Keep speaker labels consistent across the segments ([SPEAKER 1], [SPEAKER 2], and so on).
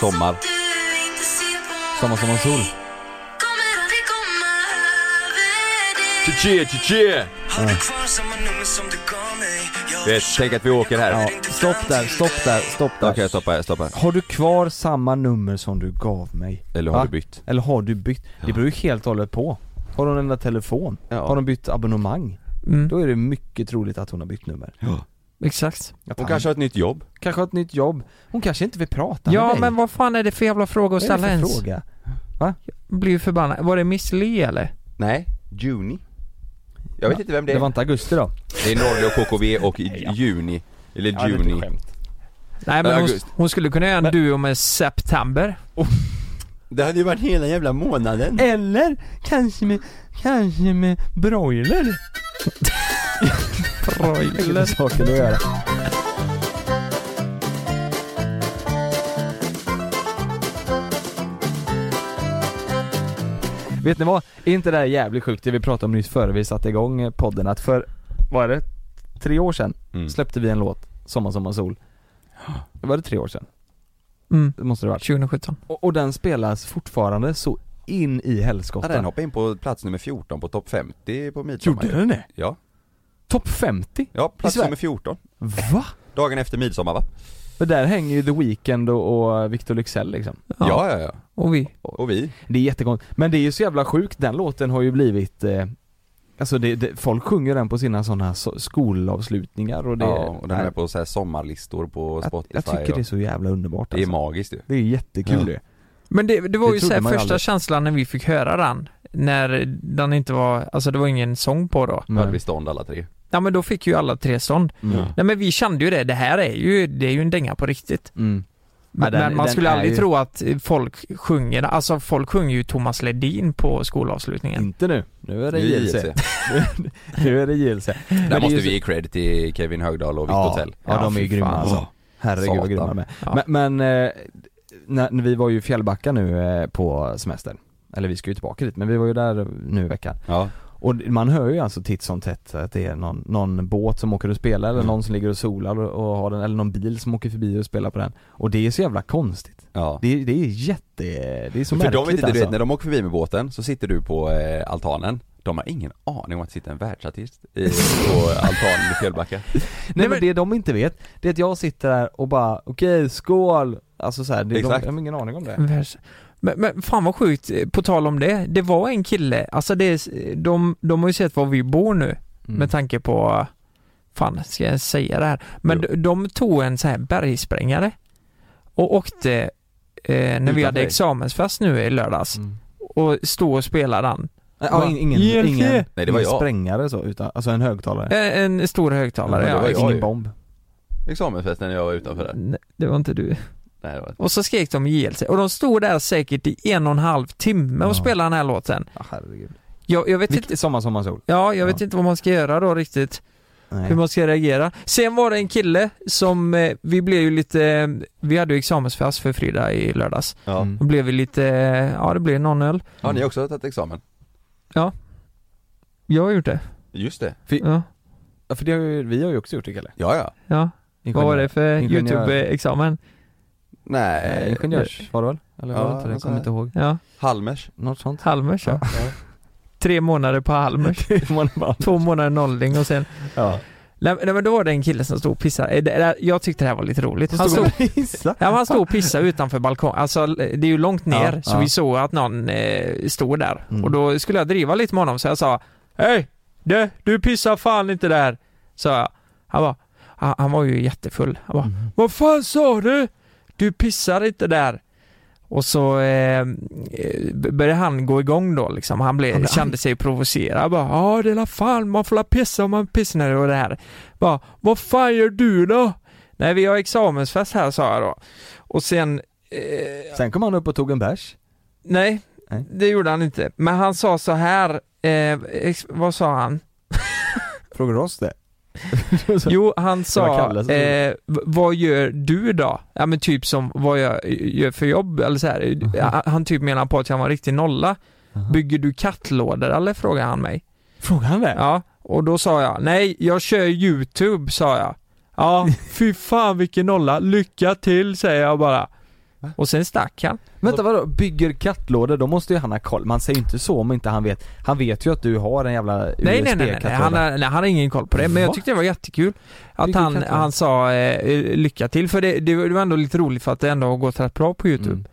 [SPEAKER 1] Sommar.
[SPEAKER 2] Sommar, sommar, sol.
[SPEAKER 1] Tje tje tje! Vet, tänk att vi åker här.
[SPEAKER 2] Ja,
[SPEAKER 1] Ja.
[SPEAKER 2] stopp där, stopp där, stopp där.
[SPEAKER 1] Okej stoppa här, stoppa här.
[SPEAKER 2] Har du kvar samma nummer som du gav mig?
[SPEAKER 1] Eller har
[SPEAKER 2] Va?
[SPEAKER 1] du bytt?
[SPEAKER 2] Eller har du bytt? Det beror ju helt och hållet på. Har hon ändrat telefon?
[SPEAKER 3] Ja.
[SPEAKER 2] Har hon bytt abonnemang?
[SPEAKER 3] Mm,
[SPEAKER 2] Då är det mycket troligt att hon har bytt nummer.
[SPEAKER 3] exakt.
[SPEAKER 2] Att
[SPEAKER 1] Hon
[SPEAKER 2] han
[SPEAKER 1] kanske har ett nytt jobb.
[SPEAKER 2] kanske har ett nytt jobb. Hon kanske inte vill prata med
[SPEAKER 3] Ja
[SPEAKER 2] dig.
[SPEAKER 3] men vad fan är det för jävla fråga att
[SPEAKER 2] Vad är det
[SPEAKER 3] ställa
[SPEAKER 2] för
[SPEAKER 3] ens?
[SPEAKER 2] fråga?
[SPEAKER 3] Blir ju förbannad. Var det Miss Li eller?
[SPEAKER 1] Nej, Juni. Jag vet inte vem det är.
[SPEAKER 2] Det var inte augusti då?
[SPEAKER 1] Det är Norge och KKV och i- Juni. Eller Juni.
[SPEAKER 3] Nej men hon,
[SPEAKER 1] August.
[SPEAKER 3] hon skulle kunna göra en duo med September.
[SPEAKER 1] Det hade ju varit hela jävla månaden.
[SPEAKER 2] Eller kanske med, kanske med broiler?
[SPEAKER 3] Broiler.
[SPEAKER 2] saker att göra. Vet ni vad? Är inte det här jävligt sjukt det vi pratade om nyss före vi satte igång eh, podden? Att för, vad är det? Tre år sedan
[SPEAKER 1] Mm.
[SPEAKER 2] släppte vi en låt, Sommar, sommar, sol. Var det tre år sedan?
[SPEAKER 3] Mm.
[SPEAKER 2] Det måste det ha varit.
[SPEAKER 3] 2017.
[SPEAKER 2] Och, och den spelas fortfarande så in i
[SPEAKER 1] Ja,
[SPEAKER 2] helskotta.
[SPEAKER 1] den hoppade in på plats nummer 14 på topp 50 på midsommar.
[SPEAKER 2] Gjorde den det?
[SPEAKER 1] Ja.
[SPEAKER 2] Topp 50?
[SPEAKER 1] Ja, plats
[SPEAKER 2] Sverige?
[SPEAKER 1] nummer 14.
[SPEAKER 2] Va?
[SPEAKER 1] Dagen efter midsommar va?
[SPEAKER 2] Och där hänger ju The Weeknd och, och Victor Lyxell liksom.
[SPEAKER 3] Ja.
[SPEAKER 1] Ja, ja, ja.
[SPEAKER 3] Och vi.
[SPEAKER 1] Och vi.
[SPEAKER 2] Det är jättekonstigt, men det är ju så jävla sjukt, den låten har ju blivit eh, Alltså det, det, folk sjunger den på sina sådana so skolavslutningar och det
[SPEAKER 1] ja, och den
[SPEAKER 2] nej,
[SPEAKER 1] är på så här sommarlistor på
[SPEAKER 2] jag,
[SPEAKER 1] Spotify.
[SPEAKER 2] jag tycker det är så jävla underbart
[SPEAKER 1] och... det är
[SPEAKER 2] alltså.
[SPEAKER 1] magiskt ju.
[SPEAKER 2] Det är jättekul
[SPEAKER 1] Ja.
[SPEAKER 2] det
[SPEAKER 3] Men det, det var
[SPEAKER 2] Det
[SPEAKER 3] ju
[SPEAKER 2] trodde
[SPEAKER 3] så här
[SPEAKER 2] man ju
[SPEAKER 3] första
[SPEAKER 2] aldrig.
[SPEAKER 3] känslan när vi fick höra den. När den inte var, alltså det var ingen sång på då.
[SPEAKER 1] Då hade
[SPEAKER 2] men,
[SPEAKER 1] vi stånd alla tre.
[SPEAKER 3] Ja men då fick ju alla tre stånd.
[SPEAKER 2] mm.
[SPEAKER 3] Nej men vi kände ju det, det här är ju, det är ju en dänga på riktigt.
[SPEAKER 2] Mm.
[SPEAKER 3] Men,
[SPEAKER 2] den-
[SPEAKER 3] men man
[SPEAKER 2] den
[SPEAKER 3] skulle
[SPEAKER 2] är
[SPEAKER 3] aldrig
[SPEAKER 2] ju-
[SPEAKER 3] tro att folk sjunger, alltså folk sjunger ju Thomas Ledin på skolavslutningen.
[SPEAKER 2] Inte nu, nu är det
[SPEAKER 1] Vi i
[SPEAKER 2] JLC
[SPEAKER 1] JLC.
[SPEAKER 2] Nu är det JLC Men det
[SPEAKER 1] Där
[SPEAKER 2] är
[SPEAKER 1] måste
[SPEAKER 2] ju
[SPEAKER 1] vi ge cred till Kevin Högdahl och Victor
[SPEAKER 2] ja,
[SPEAKER 1] Tell.
[SPEAKER 2] ja, de är
[SPEAKER 3] fy
[SPEAKER 2] ju grymma
[SPEAKER 3] fan.
[SPEAKER 2] alltså Herregud vad
[SPEAKER 1] Satan.
[SPEAKER 2] grymma de är
[SPEAKER 3] Ja.
[SPEAKER 2] Men, men eh, när, när vi var ju i Fjällbacka nu eh, på semester Eller vi ska ju tillbaka dit men vi var ju där nu i veckan
[SPEAKER 1] Ja.
[SPEAKER 2] Och man hör ju alltså titt som tätt att det är någon, någon båt som åker och spelar eller
[SPEAKER 1] Mm.
[SPEAKER 2] någon som ligger och solar och, och har den, eller någon bil som åker förbi och spelar på den. Och det är så jävla konstigt.
[SPEAKER 1] ja.
[SPEAKER 2] Det är, det är jätte, det är så
[SPEAKER 1] För
[SPEAKER 2] märkligt
[SPEAKER 1] de vet inte,
[SPEAKER 2] alltså.
[SPEAKER 1] du vet när de åker förbi med båten så sitter du på eh, altanen. De har ingen aning om att det sitter en världsartist i, på altanen i Fjällbacka.
[SPEAKER 2] Nej men
[SPEAKER 3] men-
[SPEAKER 2] det de inte vet, det är att jag sitter där och bara okej, skål! Alltså så här, det, de,
[SPEAKER 1] Exakt. Mm.
[SPEAKER 2] de har ingen aning om det.
[SPEAKER 3] Världs- Men, men fan vad sjukt, eh, på tal om det, det var en kille, alltså det, är- de, de har ju sett var vi bor nu
[SPEAKER 2] Mm.
[SPEAKER 3] med tanke på, fan ska jag säga det här? Men
[SPEAKER 1] Jo.
[SPEAKER 3] de, de tog en så här bergsprängare och åkte eh, när vi
[SPEAKER 1] Utanför
[SPEAKER 3] hade
[SPEAKER 1] dig.
[SPEAKER 3] examensfest nu i lördags
[SPEAKER 2] Mm.
[SPEAKER 3] och stod och spelade den.
[SPEAKER 2] Ja, in, ingen,
[SPEAKER 3] Ge en
[SPEAKER 2] ingen,
[SPEAKER 3] fe-
[SPEAKER 1] Nej, det var
[SPEAKER 2] ingen
[SPEAKER 1] jag.
[SPEAKER 2] sprängare så, utan, alltså en högtalare.
[SPEAKER 3] Eh, En stor högtalare
[SPEAKER 1] Ja, men det
[SPEAKER 3] ja.
[SPEAKER 1] var jag
[SPEAKER 2] ingen
[SPEAKER 1] ju.
[SPEAKER 2] bomb.
[SPEAKER 1] Examensfesten när jag var utanför där.
[SPEAKER 3] Nej, det var inte du.
[SPEAKER 1] Nej, det var...
[SPEAKER 3] Och så skrek de JLC och de stod där säkert i en och en halv timme och
[SPEAKER 2] Ja.
[SPEAKER 3] spelade den här låten.
[SPEAKER 2] Ja, herregud.
[SPEAKER 3] Jag, jag vet inte
[SPEAKER 2] Vilket sommar, sommar, sol.
[SPEAKER 3] Ja, jag vet
[SPEAKER 2] Ja.
[SPEAKER 3] inte vad man ska göra då riktigt.
[SPEAKER 2] Nej.
[SPEAKER 3] hur man ska reagera. Sen var det en kille som, eh, vi blev ju lite, eh, vi hade ju examensfest för Frida i lördags.
[SPEAKER 1] Ja.
[SPEAKER 2] Mm.
[SPEAKER 3] Då blev vi lite, eh, ja det blev någon öl.
[SPEAKER 1] Har ni också tagit examen?
[SPEAKER 3] Jag har gjort det.
[SPEAKER 1] Just det.
[SPEAKER 3] Ja,
[SPEAKER 2] Ja, för det har ju, vi har ju också gjort det Kalle.
[SPEAKER 1] Ja, ja.
[SPEAKER 3] ja. Vad var det för
[SPEAKER 2] Ingenjör.
[SPEAKER 3] YouTube-examen?
[SPEAKER 2] Eh,
[SPEAKER 1] Nej.
[SPEAKER 2] Ingenjörs var det väl? Eller var
[SPEAKER 1] Ja,
[SPEAKER 2] det inte det? Jag kommer
[SPEAKER 1] alltså-
[SPEAKER 2] inte ihåg.
[SPEAKER 3] Ja,
[SPEAKER 1] Halmers.
[SPEAKER 2] Något sånt.
[SPEAKER 3] Halmers ja. Tre månader på Halmers.
[SPEAKER 2] Man bara,
[SPEAKER 3] Två månader nolling och sen,
[SPEAKER 2] ja.
[SPEAKER 3] nej, nej men då var det en kille som stod och pissade. Eh, det- det- Jag tyckte det här var lite roligt. Han stod,
[SPEAKER 2] hissa.
[SPEAKER 3] ja, men han stod och pissade utanför balkongen, alltså det är ju långt ner
[SPEAKER 2] Ja,
[SPEAKER 3] så
[SPEAKER 2] ja.
[SPEAKER 3] vi såg att någon eh, stod där.
[SPEAKER 2] Mm.
[SPEAKER 3] Och då skulle jag driva lite med honom så jag sa Hej! Du, du pissar fan inte där! Sa jag. Han var, han, han var ju jättefull. Han bara, Vad fan sa du? Du pissar inte där! Och så eh, eh, började han gå igång då liksom. Han, blev,
[SPEAKER 2] Han blev
[SPEAKER 3] kände sig provocerad. Han bara Ja det är la fan, man får la pissa om man pissar när det och det här. Bara, Vad fan gör du då? Nej vi har examensfest här sa jag då. Och sen eh,
[SPEAKER 2] Sen kom han upp och tog en bärs.
[SPEAKER 3] Nej,
[SPEAKER 2] Nej.
[SPEAKER 3] det gjorde han inte. Men han sa så här, eh, ex- vad sa han?
[SPEAKER 2] Frågar du oss det?
[SPEAKER 3] Jo, han
[SPEAKER 2] Typ. var
[SPEAKER 3] sa,
[SPEAKER 2] Kalle som gjorde
[SPEAKER 3] eh, v- vad gör du då? Ja men typ som, vad jag eh, gör för jobb eller så här.
[SPEAKER 2] Mhm.
[SPEAKER 3] Han- Han typ menar på att jag var en riktig nolla.
[SPEAKER 2] Aha.
[SPEAKER 3] Bygger du kattlådor eller? Frågade han mig.
[SPEAKER 2] Frågar han det?
[SPEAKER 3] Ja, och då sa jag, nej jag kör YouTube sa jag. Ja, fy fan vilken nolla, lycka till säger jag bara. Och sen stack han.
[SPEAKER 2] Vänta vadå, bygger kattlådor, då måste ju han ha koll. Man säger inte så om inte han vet. Han vet ju att du har en jävla
[SPEAKER 3] Nej nej nej, nej, nej, han, har- nej, han har ingen koll på det. Men jag
[SPEAKER 2] Va?
[SPEAKER 3] tyckte det var jättekul att
[SPEAKER 2] Vilken
[SPEAKER 3] han,
[SPEAKER 2] kattlåda?
[SPEAKER 3] han sa eh, lycka till. För det, det var det var ändå lite roligt för att det ändå har gått rätt bra på YouTube.
[SPEAKER 2] Mm.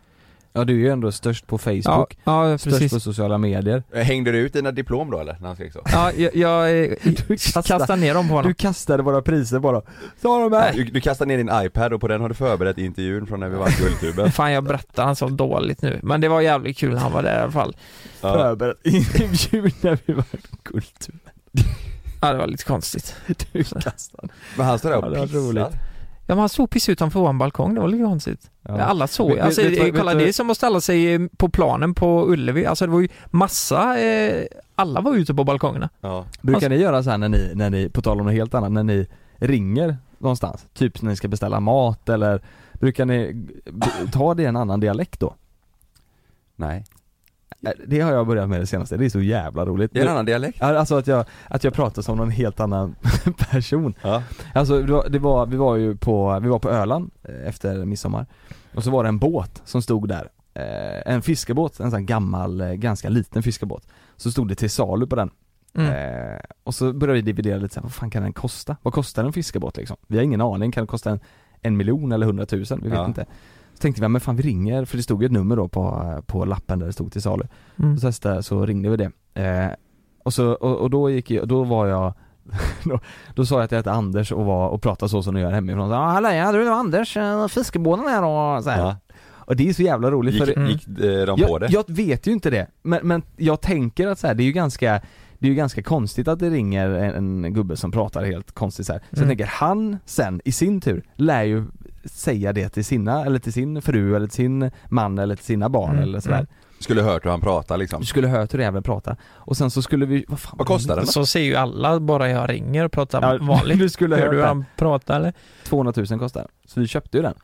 [SPEAKER 2] Ja du är ju ändå störst på
[SPEAKER 3] Ja,
[SPEAKER 2] Facebook,
[SPEAKER 3] ja,
[SPEAKER 2] störst
[SPEAKER 3] precis.
[SPEAKER 2] på sociala medier.
[SPEAKER 1] Hängde du ut dina diplom då eller? När han skrek så?
[SPEAKER 3] Ja, jag, jag eh,
[SPEAKER 2] kastar-
[SPEAKER 3] kastar ner dem på honom.
[SPEAKER 2] Du kastade våra priser bara. Ta dem här!
[SPEAKER 1] Du, du kastade ner din iPad och på den har du förberett intervjun från när vi vann Guldtuben.
[SPEAKER 3] Fan jag berättar han så dåligt nu. Men det var jävligt kul när han var där i alla fall.
[SPEAKER 1] Ja.
[SPEAKER 2] Förberett intervju när vi var kultur.
[SPEAKER 3] Ja det var lite konstigt.
[SPEAKER 2] Du kastade.
[SPEAKER 1] Men han står där
[SPEAKER 2] Ja,
[SPEAKER 1] och
[SPEAKER 2] det var
[SPEAKER 1] pissar.
[SPEAKER 2] roligt.
[SPEAKER 3] Ja men han stod precis utanför vår balkong, det var lite konstigt.
[SPEAKER 2] Ja.
[SPEAKER 3] Alla såg
[SPEAKER 2] Vet-
[SPEAKER 3] alltså,
[SPEAKER 2] vet- vet-
[SPEAKER 3] eh, kolla
[SPEAKER 2] vet-
[SPEAKER 3] det är som att ställa sig eh, på planen på Ullevi. Alltså det var ju massa, eh, alla var ute på balkongerna.
[SPEAKER 1] Ja.
[SPEAKER 2] Brukar ni göra så här när ni, när ni, på tal om något helt annat, när ni ringer någonstans? Typ när ni ska beställa mat eller brukar ni b- ta det i en annan dialekt då?
[SPEAKER 1] Nej.
[SPEAKER 2] Eh, Det har jag börjat med det senaste, det är så jävla roligt.
[SPEAKER 1] Det är en annan dialekt.
[SPEAKER 2] Ja, Alltså att jag, att jag pratar som någon helt annan person.
[SPEAKER 1] Ja.
[SPEAKER 2] Alltså det var, det var, vi var ju på, vi var på Öland eh, efter midsommar Och så var det en båt som stod där Eh, En fiskebåt, en sån här gammal, eh, ganska liten fiskebåt Så stod det till salu på den
[SPEAKER 3] Mm.
[SPEAKER 2] Eh, Och så började vi dividera lite så här, vad fan kan den kosta? Vad kostar en fiskebåt liksom? Vi har ingen aning, kan det kosta en, en miljon eller hundratusen? Vi vet
[SPEAKER 1] Ja.
[SPEAKER 2] inte Så tänkte vi, ja, men fan vi ringer, för det stod ju ett nummer då på, på lappen där det stod till salu
[SPEAKER 3] Mm.
[SPEAKER 2] och testade så ringde vi det. Eh, och, så, och, och då gick jag, då var jag då, då sa jag att jag hette Anders och var och pratade så som du gör hemifrån. Så, "Ja, Hallå, ja du det var Anders, eh, fiskebåten här och så här.
[SPEAKER 1] Ja.
[SPEAKER 2] Och det är så jävla roligt
[SPEAKER 1] Gick,
[SPEAKER 2] för
[SPEAKER 3] Mm.
[SPEAKER 1] gick eh, de på
[SPEAKER 2] jag,
[SPEAKER 1] det?
[SPEAKER 2] jag vet ju inte det. Men, men jag tänker att så här, det är ju ganska det är ju ganska konstigt att det ringer en, en gubbe som pratar helt konstigt så här. Så
[SPEAKER 3] Mm.
[SPEAKER 2] jag tänker han sen i sin tur lär ju säga det till sina, eller till sin fru eller till sin man eller till sina barn
[SPEAKER 3] Mm,
[SPEAKER 2] eller sådär.
[SPEAKER 3] mm.
[SPEAKER 1] Skulle hört hur han pratade liksom.
[SPEAKER 2] Du skulle hört hur jäveln pratade och sen så skulle vi, vad fan
[SPEAKER 1] Vad kostar den?
[SPEAKER 3] Mm. Så ser ju alla bara jag ringer och pratar
[SPEAKER 2] Ja,
[SPEAKER 3] vanligt.
[SPEAKER 2] Du skulle
[SPEAKER 3] Hör
[SPEAKER 2] hört
[SPEAKER 3] du
[SPEAKER 2] den,
[SPEAKER 3] han prata eller?
[SPEAKER 2] 200 000 kostar den. Så vi köpte ju den.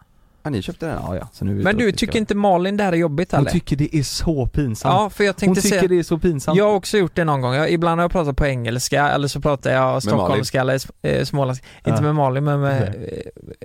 [SPEAKER 1] Ja, ni köpte den?
[SPEAKER 2] Ja ja, så nu är vi
[SPEAKER 3] Men
[SPEAKER 2] ute och
[SPEAKER 3] du,
[SPEAKER 2] fiskar.
[SPEAKER 3] tycker inte Malin det här är jobbigt
[SPEAKER 2] Hon
[SPEAKER 3] eller?
[SPEAKER 2] tycker det är så pinsamt.
[SPEAKER 3] Ja, för jag
[SPEAKER 2] Hon
[SPEAKER 3] tänkte
[SPEAKER 2] tycker
[SPEAKER 3] säga
[SPEAKER 2] det är så pinsamt.
[SPEAKER 3] Jag har också gjort det någon gång. Jag, ibland har jag pratat på engelska eller så pratar jag stockholmska eller eh, småländska.
[SPEAKER 2] Ja.
[SPEAKER 3] Inte med Malin men med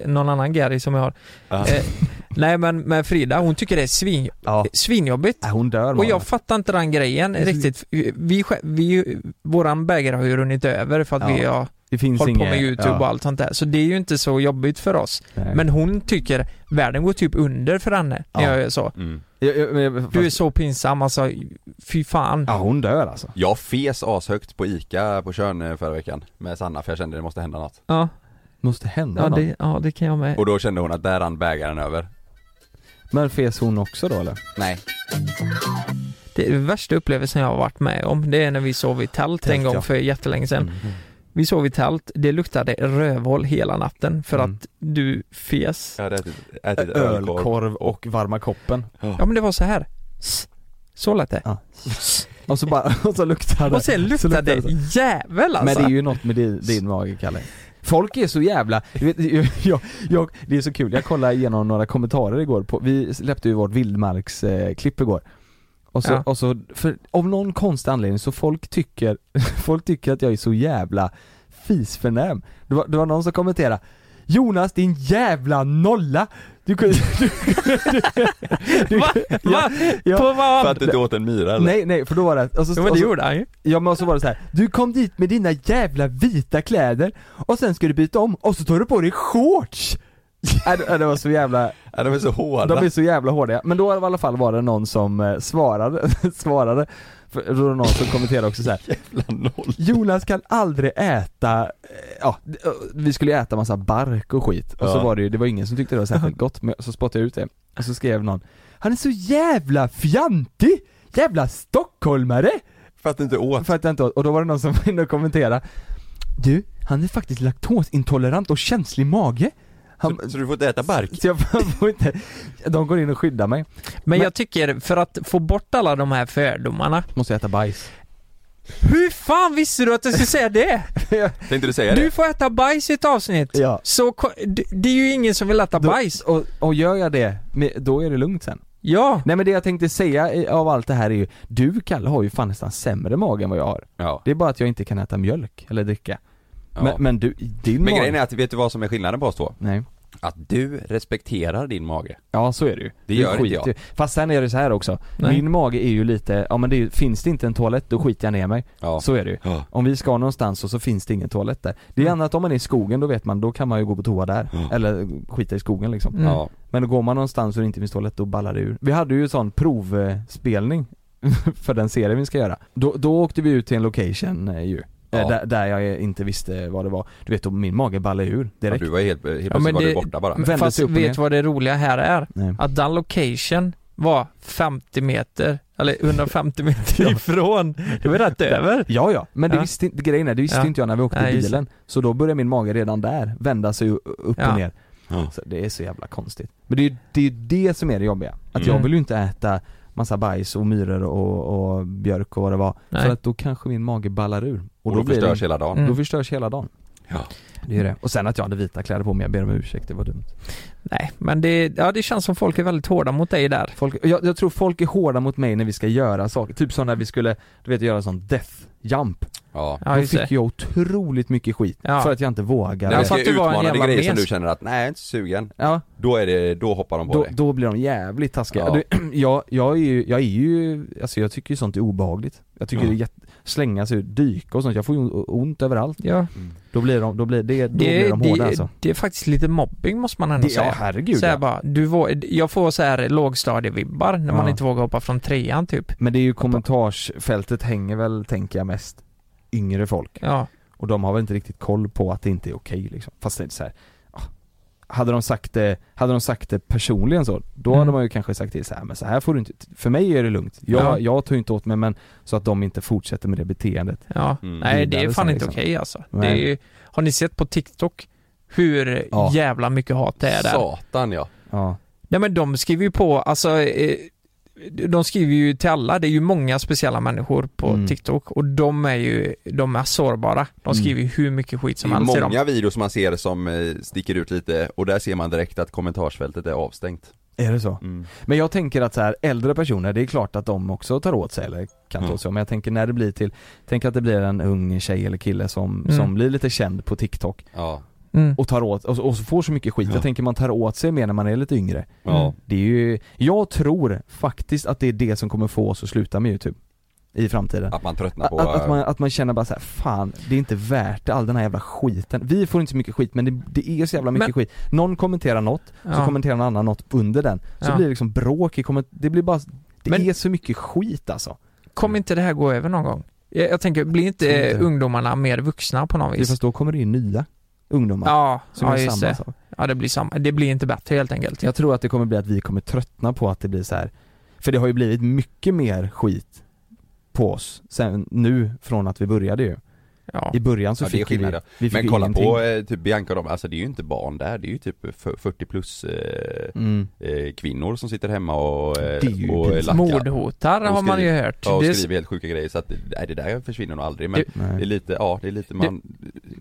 [SPEAKER 3] eh, någon annan Gary som jag har.
[SPEAKER 1] Ja.
[SPEAKER 3] Eh, nej men med Frida, hon tycker det är svin,
[SPEAKER 2] Ja.
[SPEAKER 3] svinjobbigt.
[SPEAKER 2] Nej, Hon dör
[SPEAKER 3] Och jag
[SPEAKER 2] Malin.
[SPEAKER 3] fattar inte den grejen
[SPEAKER 2] Det är så-
[SPEAKER 3] riktigt. Vi, sj- vi, våran bägare har ju runnit över för att
[SPEAKER 2] Ja.
[SPEAKER 3] vi har
[SPEAKER 2] Det finns
[SPEAKER 3] hållit på
[SPEAKER 2] inget-
[SPEAKER 3] med YouTube och
[SPEAKER 2] ja.
[SPEAKER 3] allt sånt där. Så det är ju inte så jobbigt för oss.
[SPEAKER 2] Nej.
[SPEAKER 3] Men hon tycker världen går typ under för henne när
[SPEAKER 2] Ja.
[SPEAKER 3] jag gör så.
[SPEAKER 1] Mm.
[SPEAKER 2] Jag- jag- men jag-
[SPEAKER 3] Du är
[SPEAKER 2] fast-
[SPEAKER 3] så pinsam alltså, fy fan.
[SPEAKER 2] Ja hon dör alltså.
[SPEAKER 1] Jag fes ashögt på ICA på Tjörn eh, förra veckan med Sanna för jag kände det måste hända något.
[SPEAKER 3] Ja.
[SPEAKER 2] Måste hända
[SPEAKER 3] Ja
[SPEAKER 2] något.
[SPEAKER 3] det, ja det kan jag med.
[SPEAKER 1] Och då kände hon att där rann bägaren över.
[SPEAKER 2] Men fes hon också då eller?
[SPEAKER 1] Nej.
[SPEAKER 3] Det är den värsta upplevelsen jag har varit med om det är när vi sov i tält en
[SPEAKER 2] Tält,
[SPEAKER 3] gång
[SPEAKER 2] ja.
[SPEAKER 3] för jättelänge sedan.
[SPEAKER 2] Mm.
[SPEAKER 3] Vi sov i tält, det luktade rövhål hela natten för
[SPEAKER 2] Mm.
[SPEAKER 3] att du fes.
[SPEAKER 1] Jag hade ätit, ätit ölkorv.
[SPEAKER 2] Ölkorv och varma koppen.
[SPEAKER 3] Ja men det var så här. S. Så lät det.
[SPEAKER 2] Ja. Och så bara, och så luktar det.
[SPEAKER 3] Och sen
[SPEAKER 2] Så
[SPEAKER 3] luktade det
[SPEAKER 2] så.
[SPEAKER 3] jävel alltså.
[SPEAKER 2] Men det är ju något med din, din mage Kalle Folk är så jävla, du vet, jag, jag, det är så kul, jag kollade igenom några kommentarer igår på, vi släppte ju vårt vildmarksklipp eh, klipp igår och så,
[SPEAKER 3] Ja.
[SPEAKER 2] och så, för av någon konstig anledning så folk tycker, folk tycker att jag är så jävla fisförnäm Det var, det var någon som kommenterade Jonas din jävla nolla! Du kunde, du, du, du,
[SPEAKER 3] Va? Va?
[SPEAKER 2] ja.
[SPEAKER 3] På
[SPEAKER 1] För
[SPEAKER 3] vad?
[SPEAKER 1] att du inte åt en myra eller?
[SPEAKER 2] Nej nej, för då var det, och så,
[SPEAKER 3] Jo men
[SPEAKER 2] och
[SPEAKER 3] det
[SPEAKER 2] så,
[SPEAKER 3] gjorde han ju.
[SPEAKER 2] Ja men och så var det så här. du kom dit med dina jävla vita kläder och sen ska du byta om och så tar du på dig shorts! Nej, det- det var så jävla,
[SPEAKER 1] Ja, de är så hårda.
[SPEAKER 2] de är så jävla hårda. Men då i alla fall var det någon som eh, svarade, svarade, för då var det någon som kommenterade också så här.
[SPEAKER 1] Bland noll.
[SPEAKER 2] Jonas kan aldrig äta, eh, ja, d- ö, vi skulle ju äta massa bark och skit och så
[SPEAKER 1] Ja.
[SPEAKER 2] var det ju, det var ingen som tyckte det var särskilt gott men så spottade jag ut det och så skrev någon Han är så jävla fjantig! Jävla stockholmare!
[SPEAKER 1] För att du inte åt.
[SPEAKER 2] För att jag inte åt, och då var det någon som var inne och kommenterade Du, han är faktiskt laktosintolerant och känslig mage han,
[SPEAKER 1] Så, så du får inte äta bark.
[SPEAKER 2] så jag får inte, de går in och skyddar mig
[SPEAKER 3] Men
[SPEAKER 2] Men-
[SPEAKER 3] jag tycker, för att få bort alla de här fördomarna.
[SPEAKER 2] Måste jag äta bajs
[SPEAKER 3] Hur fan visste du att jag skulle säga det?
[SPEAKER 1] Tänkte du säga
[SPEAKER 3] Du
[SPEAKER 1] det?
[SPEAKER 3] får äta bajs i ett avsnitt.
[SPEAKER 2] Ja.
[SPEAKER 3] Så ko- det- det är ju ingen som vill äta
[SPEAKER 2] Då-
[SPEAKER 3] bajs.
[SPEAKER 2] Och, och gör jag det, men då är det lugnt sen
[SPEAKER 3] Ja.
[SPEAKER 2] Nej men det jag tänkte säga i- av allt det här är ju Du Kalle har ju fan nästan sämre mage än vad jag har
[SPEAKER 1] Ja.
[SPEAKER 2] Det är bara att jag inte kan äta mjölk eller dricka
[SPEAKER 1] ja.
[SPEAKER 2] men,
[SPEAKER 1] Men,
[SPEAKER 2] men du, din mage
[SPEAKER 1] grejen är att, vet du vad som är skillnaden på oss två?
[SPEAKER 2] Nej
[SPEAKER 1] Att du respekterar din mage.
[SPEAKER 2] Ja så är det ju.
[SPEAKER 1] Det
[SPEAKER 2] Du
[SPEAKER 1] gör inte
[SPEAKER 2] skiter
[SPEAKER 1] jag.
[SPEAKER 2] ju. Fast sen är det så här också.
[SPEAKER 3] Nej.
[SPEAKER 2] Min mage är ju lite, ja men det är, ju- finns det inte en toalett då skiter jag ner mig.
[SPEAKER 1] Ja.
[SPEAKER 2] Så är det ju.
[SPEAKER 1] Ja.
[SPEAKER 2] Om vi ska någonstans och så finns det ingen toalett där. Det är
[SPEAKER 3] Mm.
[SPEAKER 2] annat om man är i skogen, då vet man, då kan man ju gå på toa där.
[SPEAKER 1] Ja.
[SPEAKER 2] Eller skita i skogen liksom.
[SPEAKER 3] Mm.
[SPEAKER 1] Ja.
[SPEAKER 2] Men går man någonstans och det inte finns toalett, då ballar det ur. Vi hade ju sån provspelning för den serien vi ska göra. Då, då åkte vi ut till en location eh, ju. Eh,
[SPEAKER 1] Ja.
[SPEAKER 2] Där, där jag inte visste vad det var. Du vet, då min mage ballade ur
[SPEAKER 1] Ja,
[SPEAKER 2] direkt.
[SPEAKER 1] Du var helt, helt plötsligt
[SPEAKER 3] men
[SPEAKER 1] var
[SPEAKER 3] det-
[SPEAKER 1] du borta bara.
[SPEAKER 2] Vände
[SPEAKER 3] Fast
[SPEAKER 2] sig upp och
[SPEAKER 3] vet
[SPEAKER 2] ner.
[SPEAKER 3] du vad det roliga här är?
[SPEAKER 2] Nej.
[SPEAKER 3] Att den location var 50 meter, eller 150 meter
[SPEAKER 2] Ja.
[SPEAKER 3] ifrån. Det var rätt över.
[SPEAKER 2] Ja, ja. Men det
[SPEAKER 3] Ja.
[SPEAKER 2] visste inte, grejen är, det visste
[SPEAKER 3] Ja.
[SPEAKER 2] inte jag när vi åkte
[SPEAKER 3] Nej,
[SPEAKER 2] i
[SPEAKER 3] just
[SPEAKER 2] bilen. Så då började min mage redan där vända sig u- upp
[SPEAKER 3] Ja.
[SPEAKER 2] och ner.
[SPEAKER 1] Ja.
[SPEAKER 2] Så Alltså, det är så jävla konstigt. Men det är ju det, är ju det som är det jobbiga. Att jag
[SPEAKER 3] Mm.
[SPEAKER 2] vill ju inte äta massa bajs och myror och, och björk och vad det var.
[SPEAKER 3] Nej.
[SPEAKER 2] För att då kanske min mage ballar ur.
[SPEAKER 1] Och då,
[SPEAKER 2] blir det-
[SPEAKER 1] förstörs hela dagen.
[SPEAKER 3] Mm.
[SPEAKER 2] Då förstörs hela dagen.
[SPEAKER 1] Ja.
[SPEAKER 2] Det är ju det. Och sen att jag hade vita kläder på mig, jag ber om ursäkt, det var dumt.
[SPEAKER 3] Nej, men det, ja, det känns som folk är väldigt hårda mot dig där.
[SPEAKER 2] Folk, jag, jag tror folk är hårda mot mig när vi ska göra saker, typ som när vi skulle, du vet göra sån death jump.
[SPEAKER 1] Ja.
[SPEAKER 3] Ja,
[SPEAKER 2] Då
[SPEAKER 3] just det.
[SPEAKER 2] fick jag otroligt mycket skit
[SPEAKER 3] Ja. alltså-
[SPEAKER 2] för att jag inte vågade.
[SPEAKER 1] När det
[SPEAKER 3] Ja, för
[SPEAKER 1] ska
[SPEAKER 3] att du var en
[SPEAKER 1] utmanande
[SPEAKER 3] jävla
[SPEAKER 1] grejer som
[SPEAKER 3] mes.
[SPEAKER 1] du känner att, nej jag är inte sugen.
[SPEAKER 2] Ja,
[SPEAKER 1] Då är det, då hoppar de på
[SPEAKER 2] då,
[SPEAKER 1] dig.
[SPEAKER 2] då blir de jävligt taskiga.
[SPEAKER 1] Ja.
[SPEAKER 2] Du, jag, jag är ju, jag är ju, alltså jag tycker ju sånt är obehagligt. Jag tycker
[SPEAKER 1] Ja.
[SPEAKER 2] det är jätte, slänga sig, ut, dyka och sånt, jag får ju ont överallt.
[SPEAKER 3] Ja,
[SPEAKER 2] Då blir de, då blir det, då blir
[SPEAKER 3] det,
[SPEAKER 2] de hårda
[SPEAKER 3] det,
[SPEAKER 2] alltså.
[SPEAKER 3] det är faktiskt lite mobbing måste man ändå
[SPEAKER 2] Det, ja
[SPEAKER 3] säga.
[SPEAKER 2] herregud
[SPEAKER 3] så här
[SPEAKER 2] ja.
[SPEAKER 3] bara, du vå, jag får så här lågstadievibbar när man
[SPEAKER 2] Ja.
[SPEAKER 3] inte vågar hoppa från trean typ.
[SPEAKER 2] Men det är ju kommentarsfältet hänger väl, tänker jag mest, yngre folk.
[SPEAKER 3] Ja,
[SPEAKER 2] Och de har väl inte riktigt koll på att det inte är okej liksom. Fast det är så här. ah. Hade de sagt det, hade de sagt det personligen så, då hade
[SPEAKER 3] Mm.
[SPEAKER 2] man ju kanske sagt till så här, men så här får du inte, för mig är det lugnt. Jag,
[SPEAKER 3] Ja.
[SPEAKER 2] jag tar ju inte åt mig men, så att de inte fortsätter med det beteendet.
[SPEAKER 3] ja.
[SPEAKER 1] Mm.
[SPEAKER 3] Nej, det är
[SPEAKER 2] Vidare
[SPEAKER 3] fan
[SPEAKER 2] sen,
[SPEAKER 3] inte
[SPEAKER 2] liksom.
[SPEAKER 3] okej alltså. Det är
[SPEAKER 2] Nej.
[SPEAKER 3] ju, har ni sett på TikTok hur
[SPEAKER 2] Ja.
[SPEAKER 3] jävla mycket hat det är där?
[SPEAKER 1] Satan ja.
[SPEAKER 2] Ja.
[SPEAKER 3] Nej men de skriver ju på, alltså eh, de skriver ju till alla, det är ju många speciella människor på
[SPEAKER 2] Mm.
[SPEAKER 3] TikTok och de är ju, de är sårbara. De
[SPEAKER 2] Mm.
[SPEAKER 3] skriver ju hur mycket skit som
[SPEAKER 1] det är
[SPEAKER 3] helst i dem.
[SPEAKER 1] många videos man ser som eh, sticker ut lite och där ser man direkt att kommentarsfältet är avstängt.
[SPEAKER 2] Är det så? Men jag tänker att så här, äldre personer, det är klart att de också tar åt sig eller kan ta
[SPEAKER 3] Mm.
[SPEAKER 1] Ja.
[SPEAKER 2] åt sig. Men jag tänker när det blir till, tänk att det blir en ung tjej eller kille som,
[SPEAKER 3] Mm.
[SPEAKER 2] som blir lite känd på TikTok
[SPEAKER 1] Ja.
[SPEAKER 3] Mm.
[SPEAKER 2] och tar åt, och, och så får så mycket skit.
[SPEAKER 1] Ja.
[SPEAKER 2] Jag tänker man tar åt sig mer när man är lite yngre.
[SPEAKER 1] Ja.
[SPEAKER 3] Mm.
[SPEAKER 2] Det är ju, jag tror faktiskt att det är det som kommer få oss att sluta med YouTube i framtiden.
[SPEAKER 1] Att man tröttnar
[SPEAKER 2] Att,
[SPEAKER 1] på... eh,
[SPEAKER 2] att, man, att man känner bara så här, fan det är inte värt det, all den här jävla skiten. Vi får inte så mycket skit men det, det är så jävla mycket
[SPEAKER 3] Men-
[SPEAKER 2] skit. Någon kommenterar något, så
[SPEAKER 3] Ja.
[SPEAKER 2] kommenterar någon annan något under den. Så
[SPEAKER 3] Ja.
[SPEAKER 2] blir det liksom bråk i komment- det blir bara, det
[SPEAKER 3] Men-
[SPEAKER 2] är så mycket skit alltså.
[SPEAKER 3] Kommer inte det här gå över någon gång? Jag, jag tänker, blir inte,
[SPEAKER 2] Tror inte.
[SPEAKER 3] eh, ungdomarna mer vuxna på något
[SPEAKER 2] Det är
[SPEAKER 3] vis?
[SPEAKER 2] fast då kommer det in nya ungdomar.
[SPEAKER 3] Ja,
[SPEAKER 2] som
[SPEAKER 3] ja
[SPEAKER 2] gör
[SPEAKER 3] just
[SPEAKER 2] samma
[SPEAKER 3] det.
[SPEAKER 2] sak.
[SPEAKER 3] Ja, det blir samma. Det blir inte bättre helt enkelt.
[SPEAKER 2] Jag tror att det kommer bli att vi kommer tröttna på att det blir så här. för det har ju blivit mycket mer skit på oss sen nu från att vi började ju.
[SPEAKER 3] Ja.
[SPEAKER 2] I början så
[SPEAKER 1] Ja, det är
[SPEAKER 2] fick ju vi,
[SPEAKER 1] skillnad,
[SPEAKER 2] vi
[SPEAKER 1] ja.
[SPEAKER 2] fick
[SPEAKER 1] Men
[SPEAKER 2] ju
[SPEAKER 1] kolla
[SPEAKER 2] ingenting.
[SPEAKER 1] på eh, typ Bianca och dem, alltså det är ju inte barn där, det är ju typ f- 40 plus eh,
[SPEAKER 2] Mm.
[SPEAKER 1] eh, kvinnor som sitter hemma och, eh,
[SPEAKER 2] Det är ju
[SPEAKER 1] och
[SPEAKER 2] pinsamt.
[SPEAKER 1] lackar.
[SPEAKER 3] Mordhotar
[SPEAKER 1] Och
[SPEAKER 3] har man ju
[SPEAKER 1] skriver-
[SPEAKER 3] hört.
[SPEAKER 1] Ja, och
[SPEAKER 3] Det är-
[SPEAKER 1] skriver helt sjuka grejer så att, nej det där försvinner nog aldrig men
[SPEAKER 3] Det-
[SPEAKER 1] det är
[SPEAKER 2] Nej.
[SPEAKER 1] lite, ja det är lite man,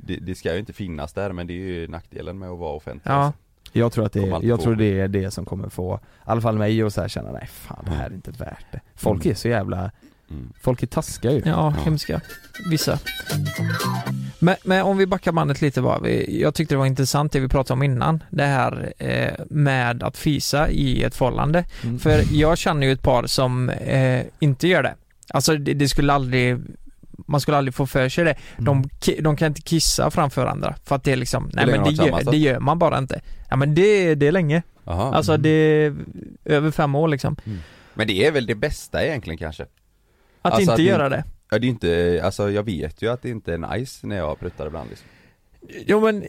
[SPEAKER 1] det, det ska ju inte finnas där men det är ju nackdelen med att vara offentlig
[SPEAKER 3] ja.
[SPEAKER 1] alltså.
[SPEAKER 2] Jag tror att det
[SPEAKER 1] Kommer
[SPEAKER 2] är,
[SPEAKER 1] alltid
[SPEAKER 2] jag
[SPEAKER 1] få
[SPEAKER 2] tror det är det som kommer få, i alla fall mig att så här känna nej fan det här är inte värt det. Folk är så jävla,
[SPEAKER 1] mm.
[SPEAKER 2] folk är taskiga ju.
[SPEAKER 3] Typ. Ja, hemska. Vissa. Men, men om vi backar bandet lite bara. Vi- Jag tyckte det var intressant det vi pratade om innan. Det här eh, med att fisa i ett förhållande.
[SPEAKER 2] Mm.
[SPEAKER 3] För jag känner ju ett par som eh, inte gör det. Alltså det, det skulle aldrig man skulle aldrig få för sig det. De,
[SPEAKER 2] Mm.
[SPEAKER 3] ki- de kan inte kissa framför andra. För att det är liksom, nej
[SPEAKER 1] länge
[SPEAKER 3] men
[SPEAKER 1] har
[SPEAKER 3] Mm. det
[SPEAKER 1] de varit
[SPEAKER 3] gör,
[SPEAKER 1] tillsammans då?
[SPEAKER 3] det gör man bara inte. Ja men det, det är länge.
[SPEAKER 1] Jaha.
[SPEAKER 3] Alltså det är över fem år liksom.
[SPEAKER 1] Men det är väl det bästa egentligen kanske?
[SPEAKER 3] Att
[SPEAKER 1] Alltså
[SPEAKER 3] inte
[SPEAKER 1] att ni-
[SPEAKER 3] göra det.
[SPEAKER 1] Ja det är inte, alltså jag vet ju att det inte är nice när jag pruttar ibland liksom.
[SPEAKER 3] Jo men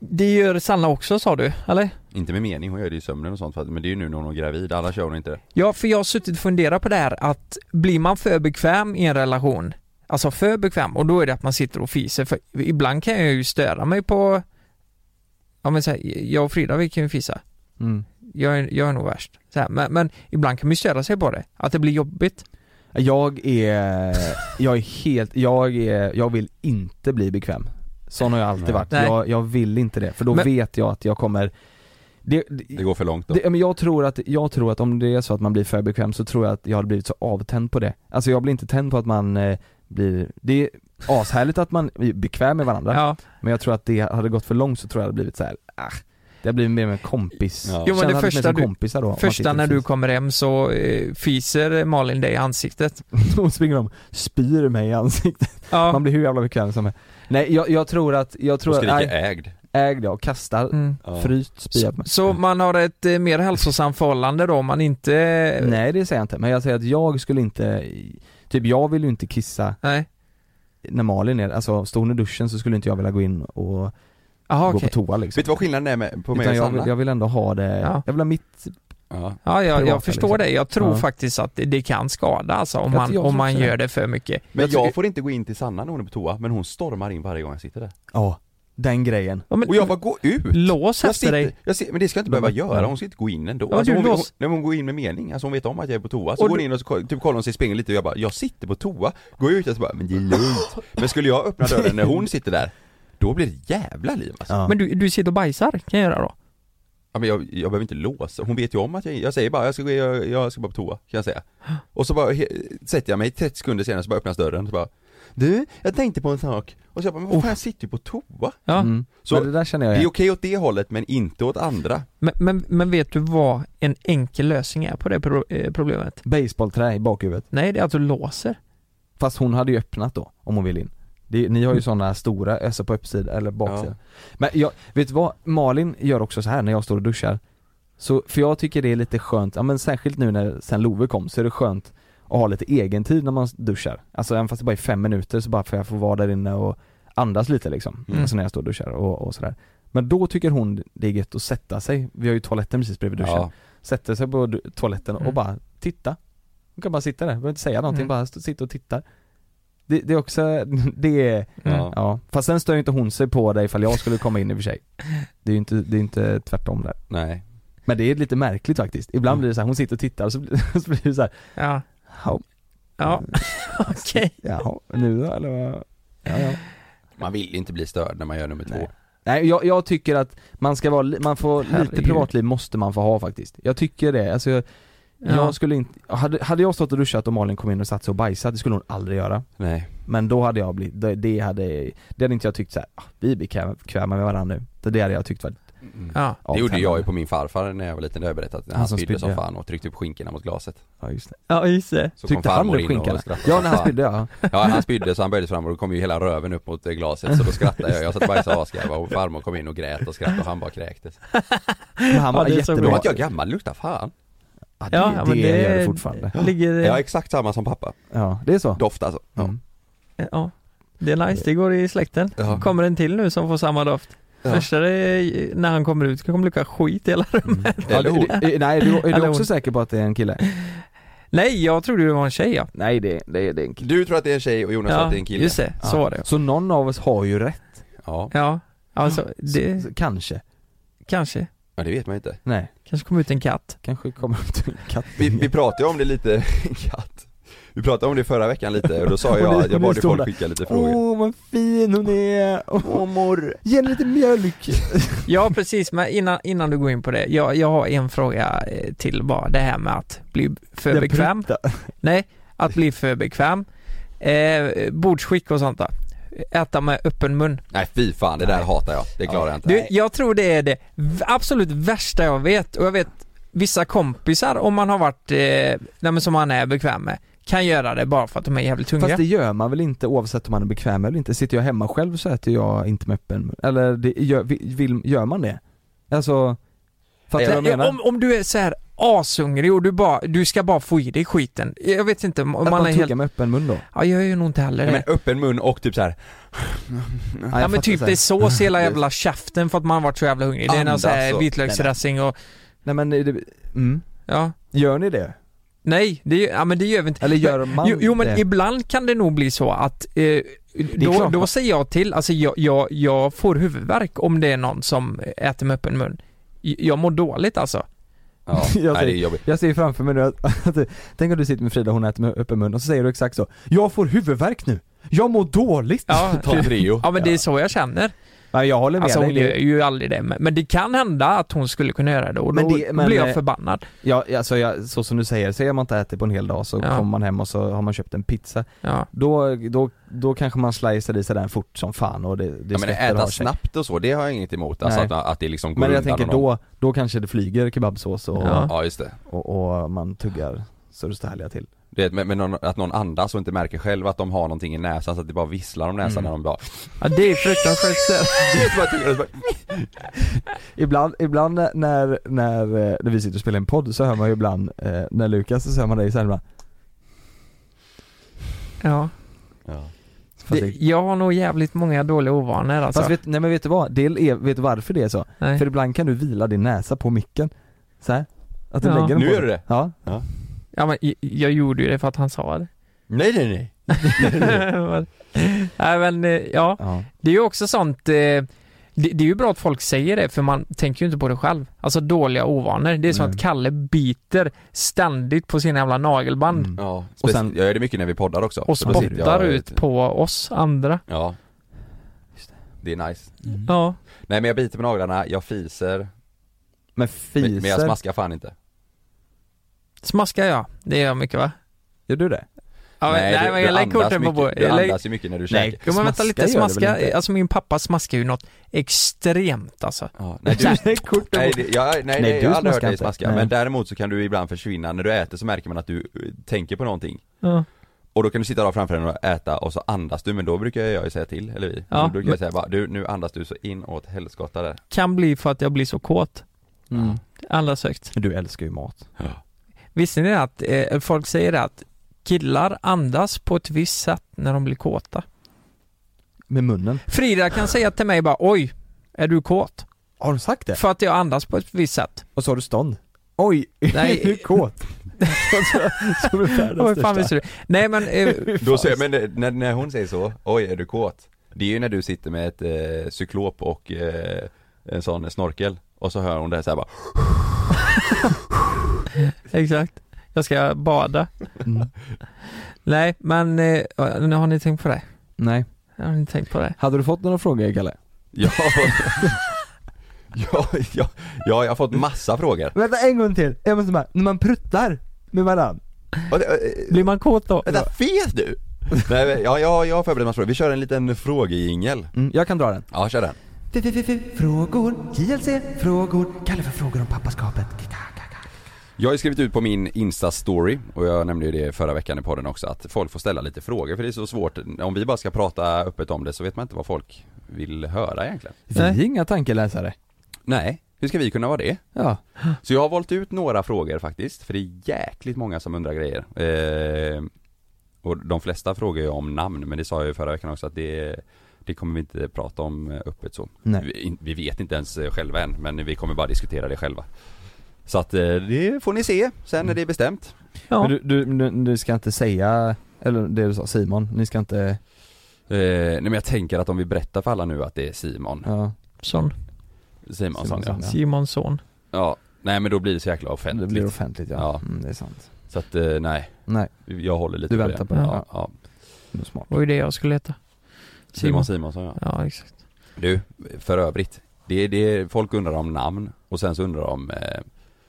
[SPEAKER 3] det gör Sanna också sa du, eller?
[SPEAKER 1] Inte med mening, hon gör det i sömnen och sånt för att- men det är ju nu när hon är gravid, annars gör hon inte det
[SPEAKER 3] Ja, för jag har suttit och funderat på det här att blir man för bekväm i en relation, alltså för bekväm, och då är det att man sitter och fiser, för ibland kan jag ju störa mig på, ja men så här, jag och Frida vi kan ju fisa,
[SPEAKER 2] Mm.
[SPEAKER 3] jag är, jag är nog värst. Så här, men, men ibland kan man ju störa sig på det, att det blir jobbigt.
[SPEAKER 2] Jag är, jag är helt, jag är, jag vill inte bli bekväm. Sån har jag alltid
[SPEAKER 1] Nej.
[SPEAKER 2] varit.
[SPEAKER 3] Nej.
[SPEAKER 2] Jag, jag vill inte det, för då
[SPEAKER 3] Men-
[SPEAKER 2] vet jag att jag kommer, det, det,
[SPEAKER 1] Det går för långt då
[SPEAKER 2] Det, ja, men jag tror att, jag tror att om det är så att man blir för bekväm så tror jag att jag hade blivit så avtänd på det. Alltså jag blir inte tänd på att man eh, blir, det är ashärligt att man är bekväm med varandra,
[SPEAKER 3] Ja.
[SPEAKER 2] men jag tror att det hade gått för långt så tror jag det hade blivit så här. ah, Det blir mer med kompis.
[SPEAKER 1] Ja. Jo, men
[SPEAKER 2] Känner han
[SPEAKER 3] det
[SPEAKER 2] lite mer
[SPEAKER 3] första
[SPEAKER 2] som
[SPEAKER 3] du-
[SPEAKER 2] kompisar då, om man
[SPEAKER 3] Första
[SPEAKER 2] sitter
[SPEAKER 3] när du
[SPEAKER 2] precis.
[SPEAKER 3] kommer hem så eh, fiser Malin dig i ansiktet.
[SPEAKER 2] Då springer de, spyr mig i ansiktet. Man
[SPEAKER 3] Ja.
[SPEAKER 2] blir hur jävla bekväm som helst. Nej jag, jag tror att, jag
[SPEAKER 1] Och
[SPEAKER 2] tror att,
[SPEAKER 1] skriker
[SPEAKER 2] nej,
[SPEAKER 1] ägd.
[SPEAKER 2] ägd jag, kastar,
[SPEAKER 3] Mm.
[SPEAKER 1] Ja.
[SPEAKER 2] fryt, spyr på mig.
[SPEAKER 3] Så man har ett eh, mer hälsosamt förhållande då om man inte... Nej.
[SPEAKER 2] Nej det säger jag inte, men jag säger att jag skulle inte, typ jag vill ju inte kissa när Malin är, alltså står hon i duschen så skulle inte jag vilja gå in och
[SPEAKER 3] Jaha
[SPEAKER 2] gå
[SPEAKER 3] okej.
[SPEAKER 2] på toa liksom.
[SPEAKER 1] Vet du vad skillnaden är med, på mig
[SPEAKER 2] Utan
[SPEAKER 1] och
[SPEAKER 2] jag vill,
[SPEAKER 1] Sanna?
[SPEAKER 2] jag vill ändå ha det,
[SPEAKER 3] Ja.
[SPEAKER 2] jag vill ha mitt,
[SPEAKER 1] Ja.
[SPEAKER 3] Ja, jag,
[SPEAKER 2] Privata,
[SPEAKER 3] jag förstår
[SPEAKER 2] liksom.
[SPEAKER 3] det. Jag tror
[SPEAKER 2] Ja.
[SPEAKER 3] faktiskt att det, det kan skada alltså om
[SPEAKER 2] Jag
[SPEAKER 3] man,
[SPEAKER 2] tror
[SPEAKER 3] om man
[SPEAKER 2] också det.
[SPEAKER 3] gör det för mycket.
[SPEAKER 1] Men jag,
[SPEAKER 2] tycker-
[SPEAKER 1] får inte gå in till Sanna när hon är på toa, men hon stormar in varje gång jag sitter där.
[SPEAKER 2] ja, den grejen.
[SPEAKER 3] Ja, men,
[SPEAKER 1] Och jag bara, gå ut!
[SPEAKER 3] lås
[SPEAKER 1] Jag
[SPEAKER 3] efter
[SPEAKER 1] sitter,
[SPEAKER 3] dig.
[SPEAKER 1] jag sitter, men det ska jag inte behöva
[SPEAKER 2] Men-
[SPEAKER 1] göra, hon ska inte gå in ändå. Alltså,
[SPEAKER 3] Ja, du
[SPEAKER 1] hon, hon,
[SPEAKER 3] lås-
[SPEAKER 1] nej, men hon går in med mening, alltså hon vet om att jag är på toa. Så går
[SPEAKER 3] Och
[SPEAKER 1] hon
[SPEAKER 3] du-
[SPEAKER 1] in och så, koll- typ kollar hon sig i spegeln lite och jag bara, jag sitter på toa. Går jag ut och så bara, men det är lugnt. Men skulle jag öppna dörren när hon sitter där, då blir det ett jävla liv alltså.
[SPEAKER 2] Ja.
[SPEAKER 3] Men du, du sitter och bajsar kan jag göra då?
[SPEAKER 1] Ja, men jag, jag behöver inte låsa, hon vet ju om att jag Jag säger bara jag ska, gå, jag, jag ska bara på toa, kan jag säga Och så bara he- sätter jag mig 30 sekunder senare så bara öppnas dörren och så bara Du, jag tänkte på en sak Och så jag bara, men vad
[SPEAKER 3] Oh.
[SPEAKER 1] fan jag sitter ju på toa
[SPEAKER 3] Ja.
[SPEAKER 2] Mm.
[SPEAKER 1] Så-
[SPEAKER 2] Så men det där känner
[SPEAKER 1] Det
[SPEAKER 2] jag
[SPEAKER 1] är
[SPEAKER 2] igen.
[SPEAKER 1] okej åt det hållet men inte åt andra
[SPEAKER 3] Men, men, men vet du vad en enkel lösning är på det pro- eh, problemet?
[SPEAKER 2] Baseballträ i bakhuvudet.
[SPEAKER 3] Nej, det är att du låser.
[SPEAKER 2] Fast hon hade ju öppnat då, om hon vill in. Det, ni
[SPEAKER 1] Mm.
[SPEAKER 2] har ju sådana stora, alltså på uppsida eller baksida. Men jag, vet du vad? Malin gör också så här när jag står och duschar. Så, för jag tycker det är lite skönt, ja men särskilt nu när sen Love kom så är det skönt att ha lite egen tid när man duschar. Alltså även fast det bara är fem minuter så bara får jag få vara där inne och andas lite liksom.
[SPEAKER 1] Mm.
[SPEAKER 2] Alltså när jag står och duschar och, och sådär. Men då tycker hon det är gött att sätta sig, vi har ju toaletten precis bredvid duschen.
[SPEAKER 1] ja.
[SPEAKER 2] sätter sig på du- toaletten och
[SPEAKER 3] Mm.
[SPEAKER 2] bara titta. Hon kan bara sitta där, behöver inte säga någonting,
[SPEAKER 3] Mm.
[SPEAKER 2] bara stå- sitta och titta. Det, det är också, det är,
[SPEAKER 3] Mm.
[SPEAKER 1] Ja.
[SPEAKER 2] ja. Fast sen stör ju inte hon sig på dig ifall jag skulle komma in i och för sig. Det är ju inte, det är inte tvärtom där.
[SPEAKER 1] Nej
[SPEAKER 2] Men det är lite märkligt faktiskt. Ibland
[SPEAKER 1] Mm.
[SPEAKER 2] blir det så här, hon sitter och tittar och så blir, så blir det så här,
[SPEAKER 3] Ja,
[SPEAKER 2] ja,
[SPEAKER 3] ja.
[SPEAKER 2] Mm.
[SPEAKER 3] okej.
[SPEAKER 2] jaha, nu då eller vad? Ja, ja.
[SPEAKER 1] Man vill inte bli störd när man gör nummer
[SPEAKER 2] Nej.
[SPEAKER 1] två
[SPEAKER 2] Nej jag, jag tycker att man ska vara, li- man får, lite
[SPEAKER 3] Herregud.
[SPEAKER 2] privatliv måste man få ha faktiskt. Jag tycker det, alltså jag,
[SPEAKER 3] Ja.
[SPEAKER 2] jag skulle inte, hade, hade jag stått och duschat och Malin kom in och satt sig och bajsat, det skulle hon aldrig göra.
[SPEAKER 1] Nej
[SPEAKER 2] Men då hade jag blivit, det, det hade, det hade inte jag tyckt såhär, ah, vi är bekväma bekväma med varandra nu. Det, det hade jag tyckt var
[SPEAKER 3] Ja.
[SPEAKER 1] Det gjorde jag ju på min farfar när jag var liten, det har jag berättat Han,
[SPEAKER 2] Han som
[SPEAKER 1] spydde som
[SPEAKER 2] spydde.
[SPEAKER 1] fan och tryckte upp skinkorna mot glaset
[SPEAKER 2] Ja just det.
[SPEAKER 3] ja, just det.
[SPEAKER 1] så
[SPEAKER 2] Tyckte han
[SPEAKER 1] farmor
[SPEAKER 2] om
[SPEAKER 1] in och
[SPEAKER 2] skinkorna?
[SPEAKER 1] skrattade
[SPEAKER 2] Ja
[SPEAKER 1] som
[SPEAKER 2] när han
[SPEAKER 1] fan.
[SPEAKER 2] spydde ja.
[SPEAKER 1] Ja han spydde så han böjde sig fram och då kom ju hela röven upp mot eh, glaset så då skrattade jag, jag satt och bajsade asgarv och farmor kom in och grät och skrattade och han bara kräktes
[SPEAKER 2] Men han
[SPEAKER 3] Ja,
[SPEAKER 2] var
[SPEAKER 3] det är så
[SPEAKER 1] Då
[SPEAKER 2] jättebra.
[SPEAKER 1] var
[SPEAKER 3] bra.
[SPEAKER 1] inte jag gammal, lukta fan
[SPEAKER 2] Ja, det,
[SPEAKER 3] Ja,
[SPEAKER 2] det,
[SPEAKER 3] men det-
[SPEAKER 2] gör det fortfarande.
[SPEAKER 3] Ligger...
[SPEAKER 1] Jag är
[SPEAKER 3] Ja,
[SPEAKER 1] exakt samma som pappa,
[SPEAKER 2] Ja, det är så.
[SPEAKER 1] doft alltså
[SPEAKER 2] Mm.
[SPEAKER 3] Det är nice, det går i släkten.
[SPEAKER 1] Ja.
[SPEAKER 3] Kommer en till nu som får samma doft.
[SPEAKER 1] Ja.
[SPEAKER 3] Första är, när han kommer ut kommer det lukta skit i hela
[SPEAKER 2] Ja,
[SPEAKER 1] Eller hon.
[SPEAKER 2] du, du, nej, du, är
[SPEAKER 3] Eller
[SPEAKER 2] du också
[SPEAKER 3] hon.
[SPEAKER 2] säker på att det är en kille?
[SPEAKER 3] Nej, jag trodde det var en tjej ja.
[SPEAKER 2] Nej det, det, det är en
[SPEAKER 1] Du tror att det är en tjej och Jonas tror
[SPEAKER 3] ja
[SPEAKER 1] att det är en kille?
[SPEAKER 3] Just det, så var det.
[SPEAKER 2] Så någon av oss har ju rätt,
[SPEAKER 1] Ja,
[SPEAKER 3] Ja, alltså det
[SPEAKER 2] Så- så- kanske.
[SPEAKER 3] kanske.
[SPEAKER 1] ja det vet man inte
[SPEAKER 2] Nej,
[SPEAKER 3] Kanske kom ut en katt.
[SPEAKER 2] kanske kommer ut en katt.
[SPEAKER 1] Vi, vi pratade ju om det lite, katt Vi pratade om det förra veckan lite och då sa
[SPEAKER 2] Och
[SPEAKER 1] jag
[SPEAKER 2] nu-
[SPEAKER 1] att jag
[SPEAKER 2] nu
[SPEAKER 1] bad
[SPEAKER 2] står
[SPEAKER 1] folk
[SPEAKER 2] där.
[SPEAKER 1] skicka lite frågor
[SPEAKER 2] Åh vad fin hon är! Åh mor! Ge henne lite mjölk!
[SPEAKER 3] Ja precis, men innan, innan du går in på det. Jag, jag har en fråga eh, till bara. Det här med att bli för
[SPEAKER 2] Den
[SPEAKER 3] bekväm.
[SPEAKER 2] prutta.
[SPEAKER 3] Nej, att bli för bekväm. Eh, bordsskick och sånt där. Äta med öppen mun.
[SPEAKER 1] Nej fy fan, det där hatar jag, det klarar jag inte
[SPEAKER 3] Du, jag tror det är det v- absolut värsta jag vet och jag vet vissa kompisar om man har varit, eh, nej men som man är bekväm med, kan göra det bara för att de är jävligt hungriga.
[SPEAKER 2] Fast det gör man väl inte oavsett om man är bekväm eller inte? Sitter jag hemma själv så äter jag inte med öppen mun. Eller det, gör, vi- vill, gör man det? Alltså, fattar du vad jag
[SPEAKER 3] Nej,
[SPEAKER 2] menar?
[SPEAKER 3] Om, om du är så här ashungrig och du, bara, du ska bara få i dig skiten. Jag vet inte, om- om
[SPEAKER 2] att
[SPEAKER 3] man,
[SPEAKER 2] man,
[SPEAKER 3] är
[SPEAKER 2] tuggar
[SPEAKER 3] helt...
[SPEAKER 2] med öppen mun då?
[SPEAKER 3] Ja, jag gör nog inte heller
[SPEAKER 1] Nej,
[SPEAKER 3] det.
[SPEAKER 1] men öppen mun och typ så här.
[SPEAKER 2] jag
[SPEAKER 3] ja men
[SPEAKER 2] fattar
[SPEAKER 3] typ
[SPEAKER 2] så
[SPEAKER 3] det
[SPEAKER 2] här.
[SPEAKER 3] är sås i hela jävla käften för att man har varit så jävla hungrig. Det är någon
[SPEAKER 1] Andas
[SPEAKER 3] så här
[SPEAKER 1] och-
[SPEAKER 3] vitlöksdressing och,
[SPEAKER 2] Nej men, det, mm.
[SPEAKER 3] ja.
[SPEAKER 2] Gör ni det?
[SPEAKER 3] Nej, det, gör- ja, men det gör vi inte.
[SPEAKER 2] Eller gör man
[SPEAKER 3] Jo, jo men
[SPEAKER 2] det?
[SPEAKER 3] ibland kan det nog bli så att eh, då,
[SPEAKER 2] klart.
[SPEAKER 3] då säger jag till, alltså jag, jag, jag får huvudvärk om det är någon som äter med öppen mun. J- Jag mår dåligt alltså.
[SPEAKER 1] Ja, nej
[SPEAKER 2] Jag
[SPEAKER 1] det är
[SPEAKER 2] säger-
[SPEAKER 1] jobbigt
[SPEAKER 2] Jag ser ju framför mig nu att, att, tänk om du sitter med Frida och hon äter med öppen mun och så säger du exakt så Jag får huvudvärk nu! Jag mår dåligt!
[SPEAKER 3] Ja,
[SPEAKER 1] Ta en Trio
[SPEAKER 3] ja men det är så jag känner.
[SPEAKER 2] Men jag håller med
[SPEAKER 3] Alltså hon
[SPEAKER 2] dig.
[SPEAKER 3] gör
[SPEAKER 2] Det,
[SPEAKER 3] ju aldrig det, men, men det kan hända att hon skulle kunna göra det och
[SPEAKER 2] Men
[SPEAKER 3] då
[SPEAKER 2] det- men,
[SPEAKER 3] blir jag
[SPEAKER 2] eh,
[SPEAKER 3] förbannad.
[SPEAKER 2] ja, alltså, jag, så som du säger, säger man inte ätit på en hel dag så
[SPEAKER 3] Ja.
[SPEAKER 2] kommer man hem och så har man köpt en pizza.
[SPEAKER 3] Ja.
[SPEAKER 2] Då, då, då kanske man slicear i sig den fort som fan och det, det
[SPEAKER 1] Ja, men
[SPEAKER 2] svetter och har
[SPEAKER 1] äta
[SPEAKER 2] sig.
[SPEAKER 1] snabbt och så, det har jag inget emot. Alltså
[SPEAKER 2] Nej.
[SPEAKER 1] att, att det liksom går
[SPEAKER 2] Men jag
[SPEAKER 1] undan
[SPEAKER 2] tänker
[SPEAKER 1] och någon-
[SPEAKER 2] då, då kanske det flyger kebabsås och,
[SPEAKER 3] Ja.
[SPEAKER 1] Ja just det.
[SPEAKER 2] och, och man tuggar så det står härliga till.
[SPEAKER 1] Du vet, men, men någon, att någon andas och inte märker själv att de har någonting i näsan så att det bara visslar om näsan
[SPEAKER 2] Mm.
[SPEAKER 1] när de bara
[SPEAKER 3] ja, det är fruktansvärt stört.
[SPEAKER 2] Ibland, ibland när, när, när, eh, när vi sitter och spelar en podd så hör man ju ibland, eh, när Lukas, så hör man dig så här ibland.
[SPEAKER 3] Ja.
[SPEAKER 1] ja.
[SPEAKER 2] Fast
[SPEAKER 3] Det,
[SPEAKER 2] det,
[SPEAKER 3] jag har nog jävligt många dåliga ovanor alltså.
[SPEAKER 2] fast vet, nej men vet du vad? Det är, vet du varför det är så?
[SPEAKER 3] Nej.
[SPEAKER 2] För ibland kan du vila din näsa på micken. Så här. Att du
[SPEAKER 3] Ja.
[SPEAKER 2] lägger den
[SPEAKER 1] Nu
[SPEAKER 2] på
[SPEAKER 1] gör du
[SPEAKER 2] den.
[SPEAKER 1] det?
[SPEAKER 2] Ja.
[SPEAKER 3] Ja, men jag, jag gjorde ju det för att han sa det.
[SPEAKER 1] Nej nej nej.
[SPEAKER 3] Men- Nej men eh, ja,
[SPEAKER 2] ja.
[SPEAKER 3] det är ju också sånt eh, det, det är ju bra att folk säger det för man tänker ju inte på det själv. Alltså dåliga ovanor. Det är som
[SPEAKER 2] Mm.
[SPEAKER 3] att Kalle biter ständigt på sina jävla nagelband
[SPEAKER 2] Mm.
[SPEAKER 1] Ja, och
[SPEAKER 2] Och
[SPEAKER 1] sen,
[SPEAKER 2] sen-
[SPEAKER 1] jag gör det mycket när vi poddar också.
[SPEAKER 3] och
[SPEAKER 1] Så då sitter jag-
[SPEAKER 3] spottar ut på oss andra.
[SPEAKER 1] Ja.
[SPEAKER 2] Just det.
[SPEAKER 1] Det är nice.
[SPEAKER 3] Ja.
[SPEAKER 1] Nej men jag biter på naglarna, jag fiser,
[SPEAKER 2] Men
[SPEAKER 1] men-
[SPEAKER 2] fiser,
[SPEAKER 1] men jag smaskar fan inte.
[SPEAKER 3] Smaskar jag. Det gör jag mycket va?
[SPEAKER 2] gör du det?
[SPEAKER 3] Ja, men- nej,
[SPEAKER 1] du,
[SPEAKER 3] men jag
[SPEAKER 1] du
[SPEAKER 3] lägger
[SPEAKER 1] andas
[SPEAKER 3] korten på
[SPEAKER 1] mycket,
[SPEAKER 3] bordet.
[SPEAKER 1] Du
[SPEAKER 3] Jag lägger-
[SPEAKER 1] andas ju mycket när du
[SPEAKER 2] Nej.
[SPEAKER 1] käkar.
[SPEAKER 3] Jo men vänta
[SPEAKER 2] Smaska
[SPEAKER 3] lite,
[SPEAKER 2] gör det väl
[SPEAKER 3] smaska,
[SPEAKER 2] inte?
[SPEAKER 3] alltså min pappa smaskar ju något extremt alltså.
[SPEAKER 1] Ja, nej, du,
[SPEAKER 2] Nej, kort
[SPEAKER 1] nej, det- jag, nej,
[SPEAKER 2] Nej,
[SPEAKER 1] nej,
[SPEAKER 2] du
[SPEAKER 1] jag har aldrig hört
[SPEAKER 2] smaskar
[SPEAKER 1] dig
[SPEAKER 2] inte.
[SPEAKER 1] smaska,
[SPEAKER 2] Nej.
[SPEAKER 1] men däremot så kan du ibland försvinna, när du äter så märker man att du eh, tänker på någonting.
[SPEAKER 3] Ja.
[SPEAKER 1] Och då kan du sitta där framför den och äta och så andas du, men då brukar jag ju säga till, eller vi.
[SPEAKER 3] Ja.
[SPEAKER 1] Då brukar jag säga bara, du nu andas du så inåt helskotta där.
[SPEAKER 3] Kan bli för att jag blir så kåt.
[SPEAKER 2] Mm.
[SPEAKER 3] Allra högst.
[SPEAKER 2] Men Du älskar ju mat.
[SPEAKER 3] Visste ni att eh, folk säger att killar andas på ett visst sätt när de blir kåta?
[SPEAKER 2] Med munnen.
[SPEAKER 3] Frida kan säga till mig bara oj, är du kåt?
[SPEAKER 2] Har du sagt det?
[SPEAKER 3] För att jag andas på ett visst sätt.
[SPEAKER 2] Och så har du stånd. Oj,
[SPEAKER 3] Nej.
[SPEAKER 2] du är kåt. Som är
[SPEAKER 3] Oj,
[SPEAKER 2] världens
[SPEAKER 3] fan, visste
[SPEAKER 2] största.
[SPEAKER 3] du? Nej men, eh,
[SPEAKER 1] Då säger, men eh, när, när hon säger så, oj är du kåt? Det är ju när du sitter med ett eh, cyklop och eh, en sån snorkel och så hör hon det här så här bara
[SPEAKER 3] exakt. Jag ska bada.
[SPEAKER 2] Mm.
[SPEAKER 3] Nej men, eh, nu har ni tänkt på det?
[SPEAKER 2] Nej.
[SPEAKER 3] Har ni tänkt på det?
[SPEAKER 2] Hade du fått några frågor Kalle?
[SPEAKER 1] Ja, ja, ja, ja jag har fått massa frågor.
[SPEAKER 2] Vänta en gång till, jag måste bara, när man pruttar med varann.
[SPEAKER 1] Och det- eh,
[SPEAKER 3] Blir man kåt då?
[SPEAKER 1] Vänta, fet du? Nej, men, ja, ja, jag har förberett massa frågor. Vi kör en liten frågejingel.
[SPEAKER 2] Mm, jag kan dra den.
[SPEAKER 1] Ja, kör den.
[SPEAKER 2] Frågor, JLC, frågor, Kalle för frågor om pappaskapet.
[SPEAKER 1] Jag har ju skrivit ut på min Insta-story, och jag nämnde ju det förra veckan i podden också, att folk får ställa lite frågor för det är så svårt. Om vi bara ska prata öppet om det så vet man inte vad folk vill höra egentligen.
[SPEAKER 2] Vi är inga tankeläsare.
[SPEAKER 1] Nej, hur ska vi kunna vara det?
[SPEAKER 2] Ja.
[SPEAKER 1] Så jag har valt ut några frågor faktiskt, för det är jäkligt många som undrar grejer. Eh, och de flesta frågar ju om namn, men det sa jag ju förra veckan också att det, det kommer vi inte prata om eh, öppet så.
[SPEAKER 2] Nej.
[SPEAKER 1] Vi, in- vi vet inte ens eh, själva än, men vi kommer bara diskutera det själva. Så att eh, det får ni se sen när det är bestämt.
[SPEAKER 3] Ja.
[SPEAKER 2] Men du, du, du, du ska inte säga, eller det du sa Simon, ni ska inte,
[SPEAKER 1] Eh, nej men jag tänker att om vi berättar för alla nu att det är Simon
[SPEAKER 2] ja.
[SPEAKER 3] Son.
[SPEAKER 1] Simonsson ja.
[SPEAKER 2] Simonsson. Ja.
[SPEAKER 3] Simonsson.
[SPEAKER 1] ja. Nej men då blir det så jäkla offentligt.
[SPEAKER 2] Det blir offentligt ja.
[SPEAKER 1] Ja.
[SPEAKER 2] Mm, det är sant.
[SPEAKER 1] Så att eh, nej,
[SPEAKER 2] Nej,
[SPEAKER 1] jag håller lite
[SPEAKER 2] Du
[SPEAKER 1] på det.
[SPEAKER 2] väntar på det.
[SPEAKER 1] Ja, ja.
[SPEAKER 2] det är smart.
[SPEAKER 3] Det var ju det jag skulle heta.
[SPEAKER 1] Simon Simonsson ja.
[SPEAKER 3] Ja, exakt.
[SPEAKER 1] Du, för övrigt. Det, det, folk undrar om namn och sen så undrar de om eh,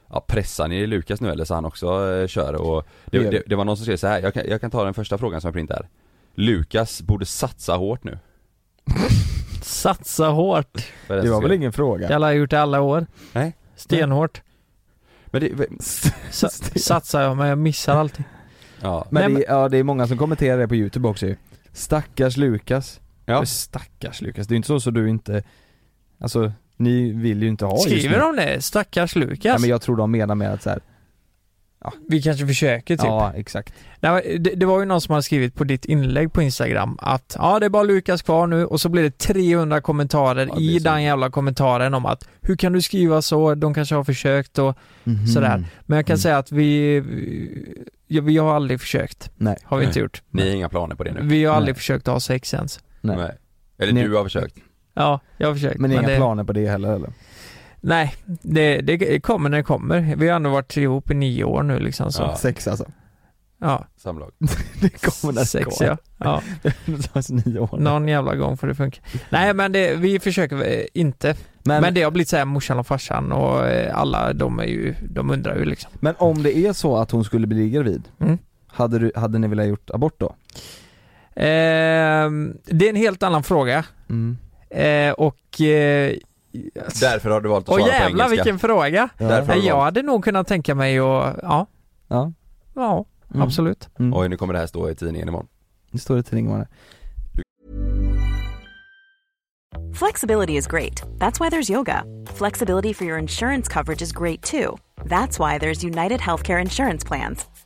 [SPEAKER 1] Ja, pressar ni Lukas nu eller så han också eh, kör? Och
[SPEAKER 2] Det
[SPEAKER 1] det,
[SPEAKER 2] gör vi.
[SPEAKER 1] det, det var någon som skrev så här. Jag, kan, jag kan ta den första frågan som jag printar Lukas borde satsa hårt nu
[SPEAKER 3] Satsa hårt.
[SPEAKER 1] Vad är
[SPEAKER 2] Det
[SPEAKER 1] som
[SPEAKER 2] var väl
[SPEAKER 1] skrev?
[SPEAKER 2] ingen fråga?
[SPEAKER 3] Jag har gjort det alla år.
[SPEAKER 1] Nej.
[SPEAKER 3] Stenhårt.
[SPEAKER 1] Men det,
[SPEAKER 3] Sa- satsar jag, men jag missar alltid.
[SPEAKER 1] ja,
[SPEAKER 2] Men,
[SPEAKER 3] Nej,
[SPEAKER 2] det, ja, det är många som kommenterar det på youtube också ju. Stackars Lukas.
[SPEAKER 1] Ja.
[SPEAKER 2] Stackars Lukas, det är inte så så du inte, alltså ni vill ju inte ha just nu.
[SPEAKER 3] Skriver de det? Stackars Lukas.
[SPEAKER 2] Ja, men jag tror de menar med att så här,
[SPEAKER 3] Vi kanske försöker typ.
[SPEAKER 2] ja exakt.
[SPEAKER 3] Nej, det, det var ju någon som hade skrivit på ditt inlägg på Instagram att ja, det är bara Lukas kvar nu och så blir det 300 kommentarer
[SPEAKER 1] Ja, det är
[SPEAKER 3] i
[SPEAKER 1] så.
[SPEAKER 3] den jävla kommentaren om att hur kan du skriva så? De kanske har försökt och Sådär. Men jag kan
[SPEAKER 2] Mm.
[SPEAKER 3] säga att vi, vi, ja, vi har aldrig försökt.
[SPEAKER 2] Nej.
[SPEAKER 3] Har vi inte gjort.
[SPEAKER 1] ni har inga planer på det nu?
[SPEAKER 3] Vi har aldrig
[SPEAKER 2] Nej.
[SPEAKER 3] försökt ha sex ens.
[SPEAKER 2] Nej.
[SPEAKER 1] Nej. Eller
[SPEAKER 2] Ni-
[SPEAKER 1] du har försökt?
[SPEAKER 3] Ja, jag har försökt.
[SPEAKER 2] Men, inga
[SPEAKER 3] det,
[SPEAKER 2] planer på det heller eller?
[SPEAKER 3] Nej, det, det kommer när det kommer. Vi har ändå varit ihop i nio år nu liksom. Så.
[SPEAKER 1] Ja.
[SPEAKER 2] Sex alltså?
[SPEAKER 3] Ja,
[SPEAKER 1] samlag.
[SPEAKER 2] Det kommer när det
[SPEAKER 3] sex
[SPEAKER 2] går.
[SPEAKER 3] ja. ja.
[SPEAKER 2] Någonstans nio år.
[SPEAKER 3] Någon jävla gång får det funka. Nej men det, vi försöker eh, inte. Men,
[SPEAKER 2] men, men,
[SPEAKER 3] det har blivit såhär morsan och farsan och eh, alla de är ju, de undrar ju liksom.
[SPEAKER 2] om det är så att hon skulle bli gravid,
[SPEAKER 3] Mm.
[SPEAKER 2] hade, du, hade ni velat gjort abort då?
[SPEAKER 3] Ehm, det är en helt annan fråga. Eh, och... Eh,
[SPEAKER 1] Därför har du valt att
[SPEAKER 3] och
[SPEAKER 1] svara på
[SPEAKER 3] jävlar
[SPEAKER 1] engelska.
[SPEAKER 3] vilken fråga!
[SPEAKER 2] Ja.
[SPEAKER 1] Därför-
[SPEAKER 3] Nej,
[SPEAKER 1] Fråga.
[SPEAKER 3] jag hade nog kunnat tänka mig att, ja,
[SPEAKER 2] Ja.
[SPEAKER 3] ja,
[SPEAKER 2] Mm.
[SPEAKER 3] absolut.
[SPEAKER 2] Mm.
[SPEAKER 1] Oj, nu kommer det här stå i tidningen imorgon.
[SPEAKER 2] Det står i tidningen bara.
[SPEAKER 4] Flexibility is great. That's why there's yoga. Flexibility for your insurance coverage is great too. That's why there's United Healthcare Insurance Plans.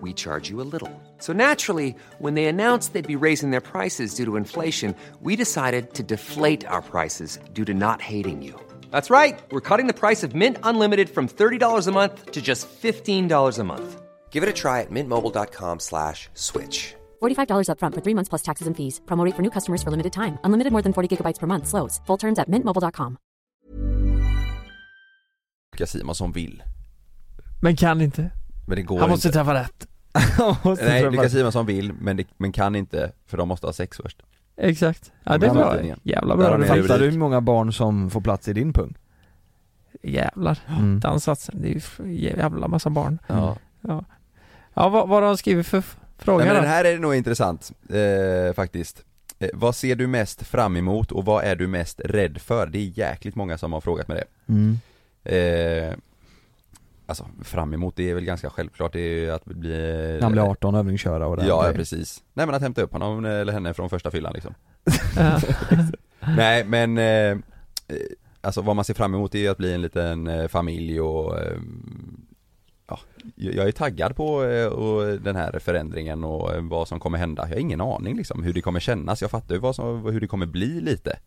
[SPEAKER 5] we charge you a little. So naturally, when they announced they'd be raising their prices due to inflation, we decided to deflate our prices due to not hating you. That's right. We're cutting the price of Mint Unlimited from $30 a month to just $15 a month.
[SPEAKER 6] Give it a try at mintmobile.com slash switch.
[SPEAKER 7] $45 upfront for three months plus taxes and fees. Promo rate for new customers for limited time. Unlimited more than 40 gigabytes per month. Slows. Full terms at mintmobile.com.
[SPEAKER 1] Vilka Simon som vill.
[SPEAKER 3] Men kan inte.
[SPEAKER 1] Men det går
[SPEAKER 3] Han måste
[SPEAKER 1] inte.
[SPEAKER 3] träffa rätt.
[SPEAKER 1] Nej, Lukas Simon som vill, men, det, men kan inte, för de måste ha sex först.
[SPEAKER 3] Exakt. Ja,
[SPEAKER 1] Men
[SPEAKER 3] det är
[SPEAKER 1] han har
[SPEAKER 3] bra.
[SPEAKER 1] tidningen.
[SPEAKER 3] Jävla
[SPEAKER 1] Där
[SPEAKER 3] bra.
[SPEAKER 1] har ni
[SPEAKER 3] Fan,
[SPEAKER 1] rubrik.
[SPEAKER 2] Fattar du hur många barn som får plats i din pung?
[SPEAKER 3] Jävlar.
[SPEAKER 2] Mm.
[SPEAKER 3] Den satsen. Det är ju f- jävla massa barn.
[SPEAKER 1] Ja.
[SPEAKER 3] Ja, vad, vad har han skrivit för f-
[SPEAKER 1] Nej,
[SPEAKER 3] fråga
[SPEAKER 1] men den
[SPEAKER 3] då?
[SPEAKER 1] här är nog intressant, eh, faktiskt. Eh, vad ser du mest fram emot och vad är du mest rädd för? Det är jäkligt många som har frågat mig det.
[SPEAKER 2] Mm.
[SPEAKER 1] Eh, alltså fram emot, det är väl ganska självklart, det är ju att bli...
[SPEAKER 2] När han blir 18 och övningsköra och det
[SPEAKER 1] Ja,
[SPEAKER 2] här.
[SPEAKER 1] ja,
[SPEAKER 2] Okej.
[SPEAKER 1] precis. Nej men att hämta upp honom eh, eller henne från första fyllan liksom.
[SPEAKER 3] Ja.
[SPEAKER 1] Nej men, eh, eh, alltså vad man ser fram emot är ju att bli en liten eh, familj och eh, ja, jag är taggad på eh, och den här förändringen och eh, vad som kommer hända. Jag har ingen aning liksom hur det kommer kännas, jag fattar ju vad som, hur det kommer bli lite.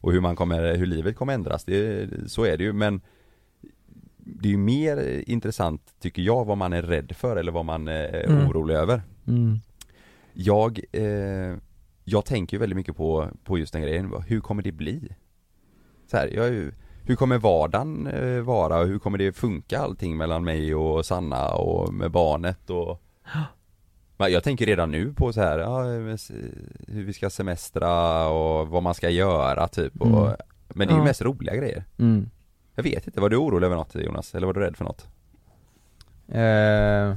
[SPEAKER 1] Och hur man kommer, eh, hur livet kommer ändras, det, så är det ju men det är ju mer eh, intressant tycker jag vad man är rädd för eller vad man eh, är
[SPEAKER 3] Mm.
[SPEAKER 1] orolig över.
[SPEAKER 2] Mm.
[SPEAKER 1] Jag, eh, jag tänker ju väldigt mycket på, på just den grejen, Vad- hur kommer det bli? Så här, jag är ju, hur kommer vardagen eh, vara och hur kommer det funka allting mellan mig och Sanna och med barnet och Men jag tänker redan nu på så här, ja, men s- hur vi ska semestra och vad man ska göra typ och,
[SPEAKER 2] Mm.
[SPEAKER 1] Men det är ju
[SPEAKER 3] Ja.
[SPEAKER 1] mest roliga grejer
[SPEAKER 2] Mm.
[SPEAKER 1] Jag vet inte, var du orolig över något Jonas? Eller var du rädd för något?
[SPEAKER 2] Eh,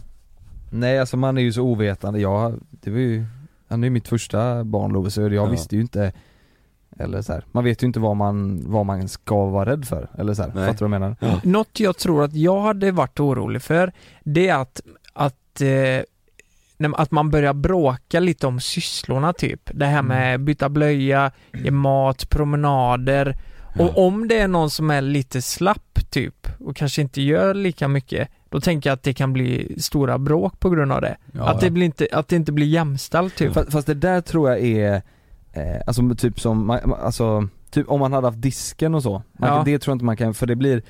[SPEAKER 2] nej alltså man är ju så ovetande, jag, det var ju, han är ju mitt första barn Love, så jag
[SPEAKER 1] Ja.
[SPEAKER 2] visste ju inte eller så här, man vet ju inte vad man, vad man ska vara rädd för, eller så här,
[SPEAKER 1] Nej.
[SPEAKER 2] fattar du vad jag menar?
[SPEAKER 3] Något jag tror att jag hade varit orolig för, det är att, att, eh, nej, men att man börjar bråka lite om sysslorna typ. Det här
[SPEAKER 2] Mm.
[SPEAKER 3] med byta blöja, ge mat, promenader. Och om det är någon som är lite slapp typ och kanske inte gör lika mycket, då tänker jag att det kan bli stora bråk på grund av det. att, det blir inte, att det inte blir jämställt typ.
[SPEAKER 2] Fast, fast det där tror jag är, eh, alltså typ som, man- man- alltså, typ om man hade haft disken och så, man,
[SPEAKER 3] Ja.
[SPEAKER 2] det tror jag inte man kan, för det blir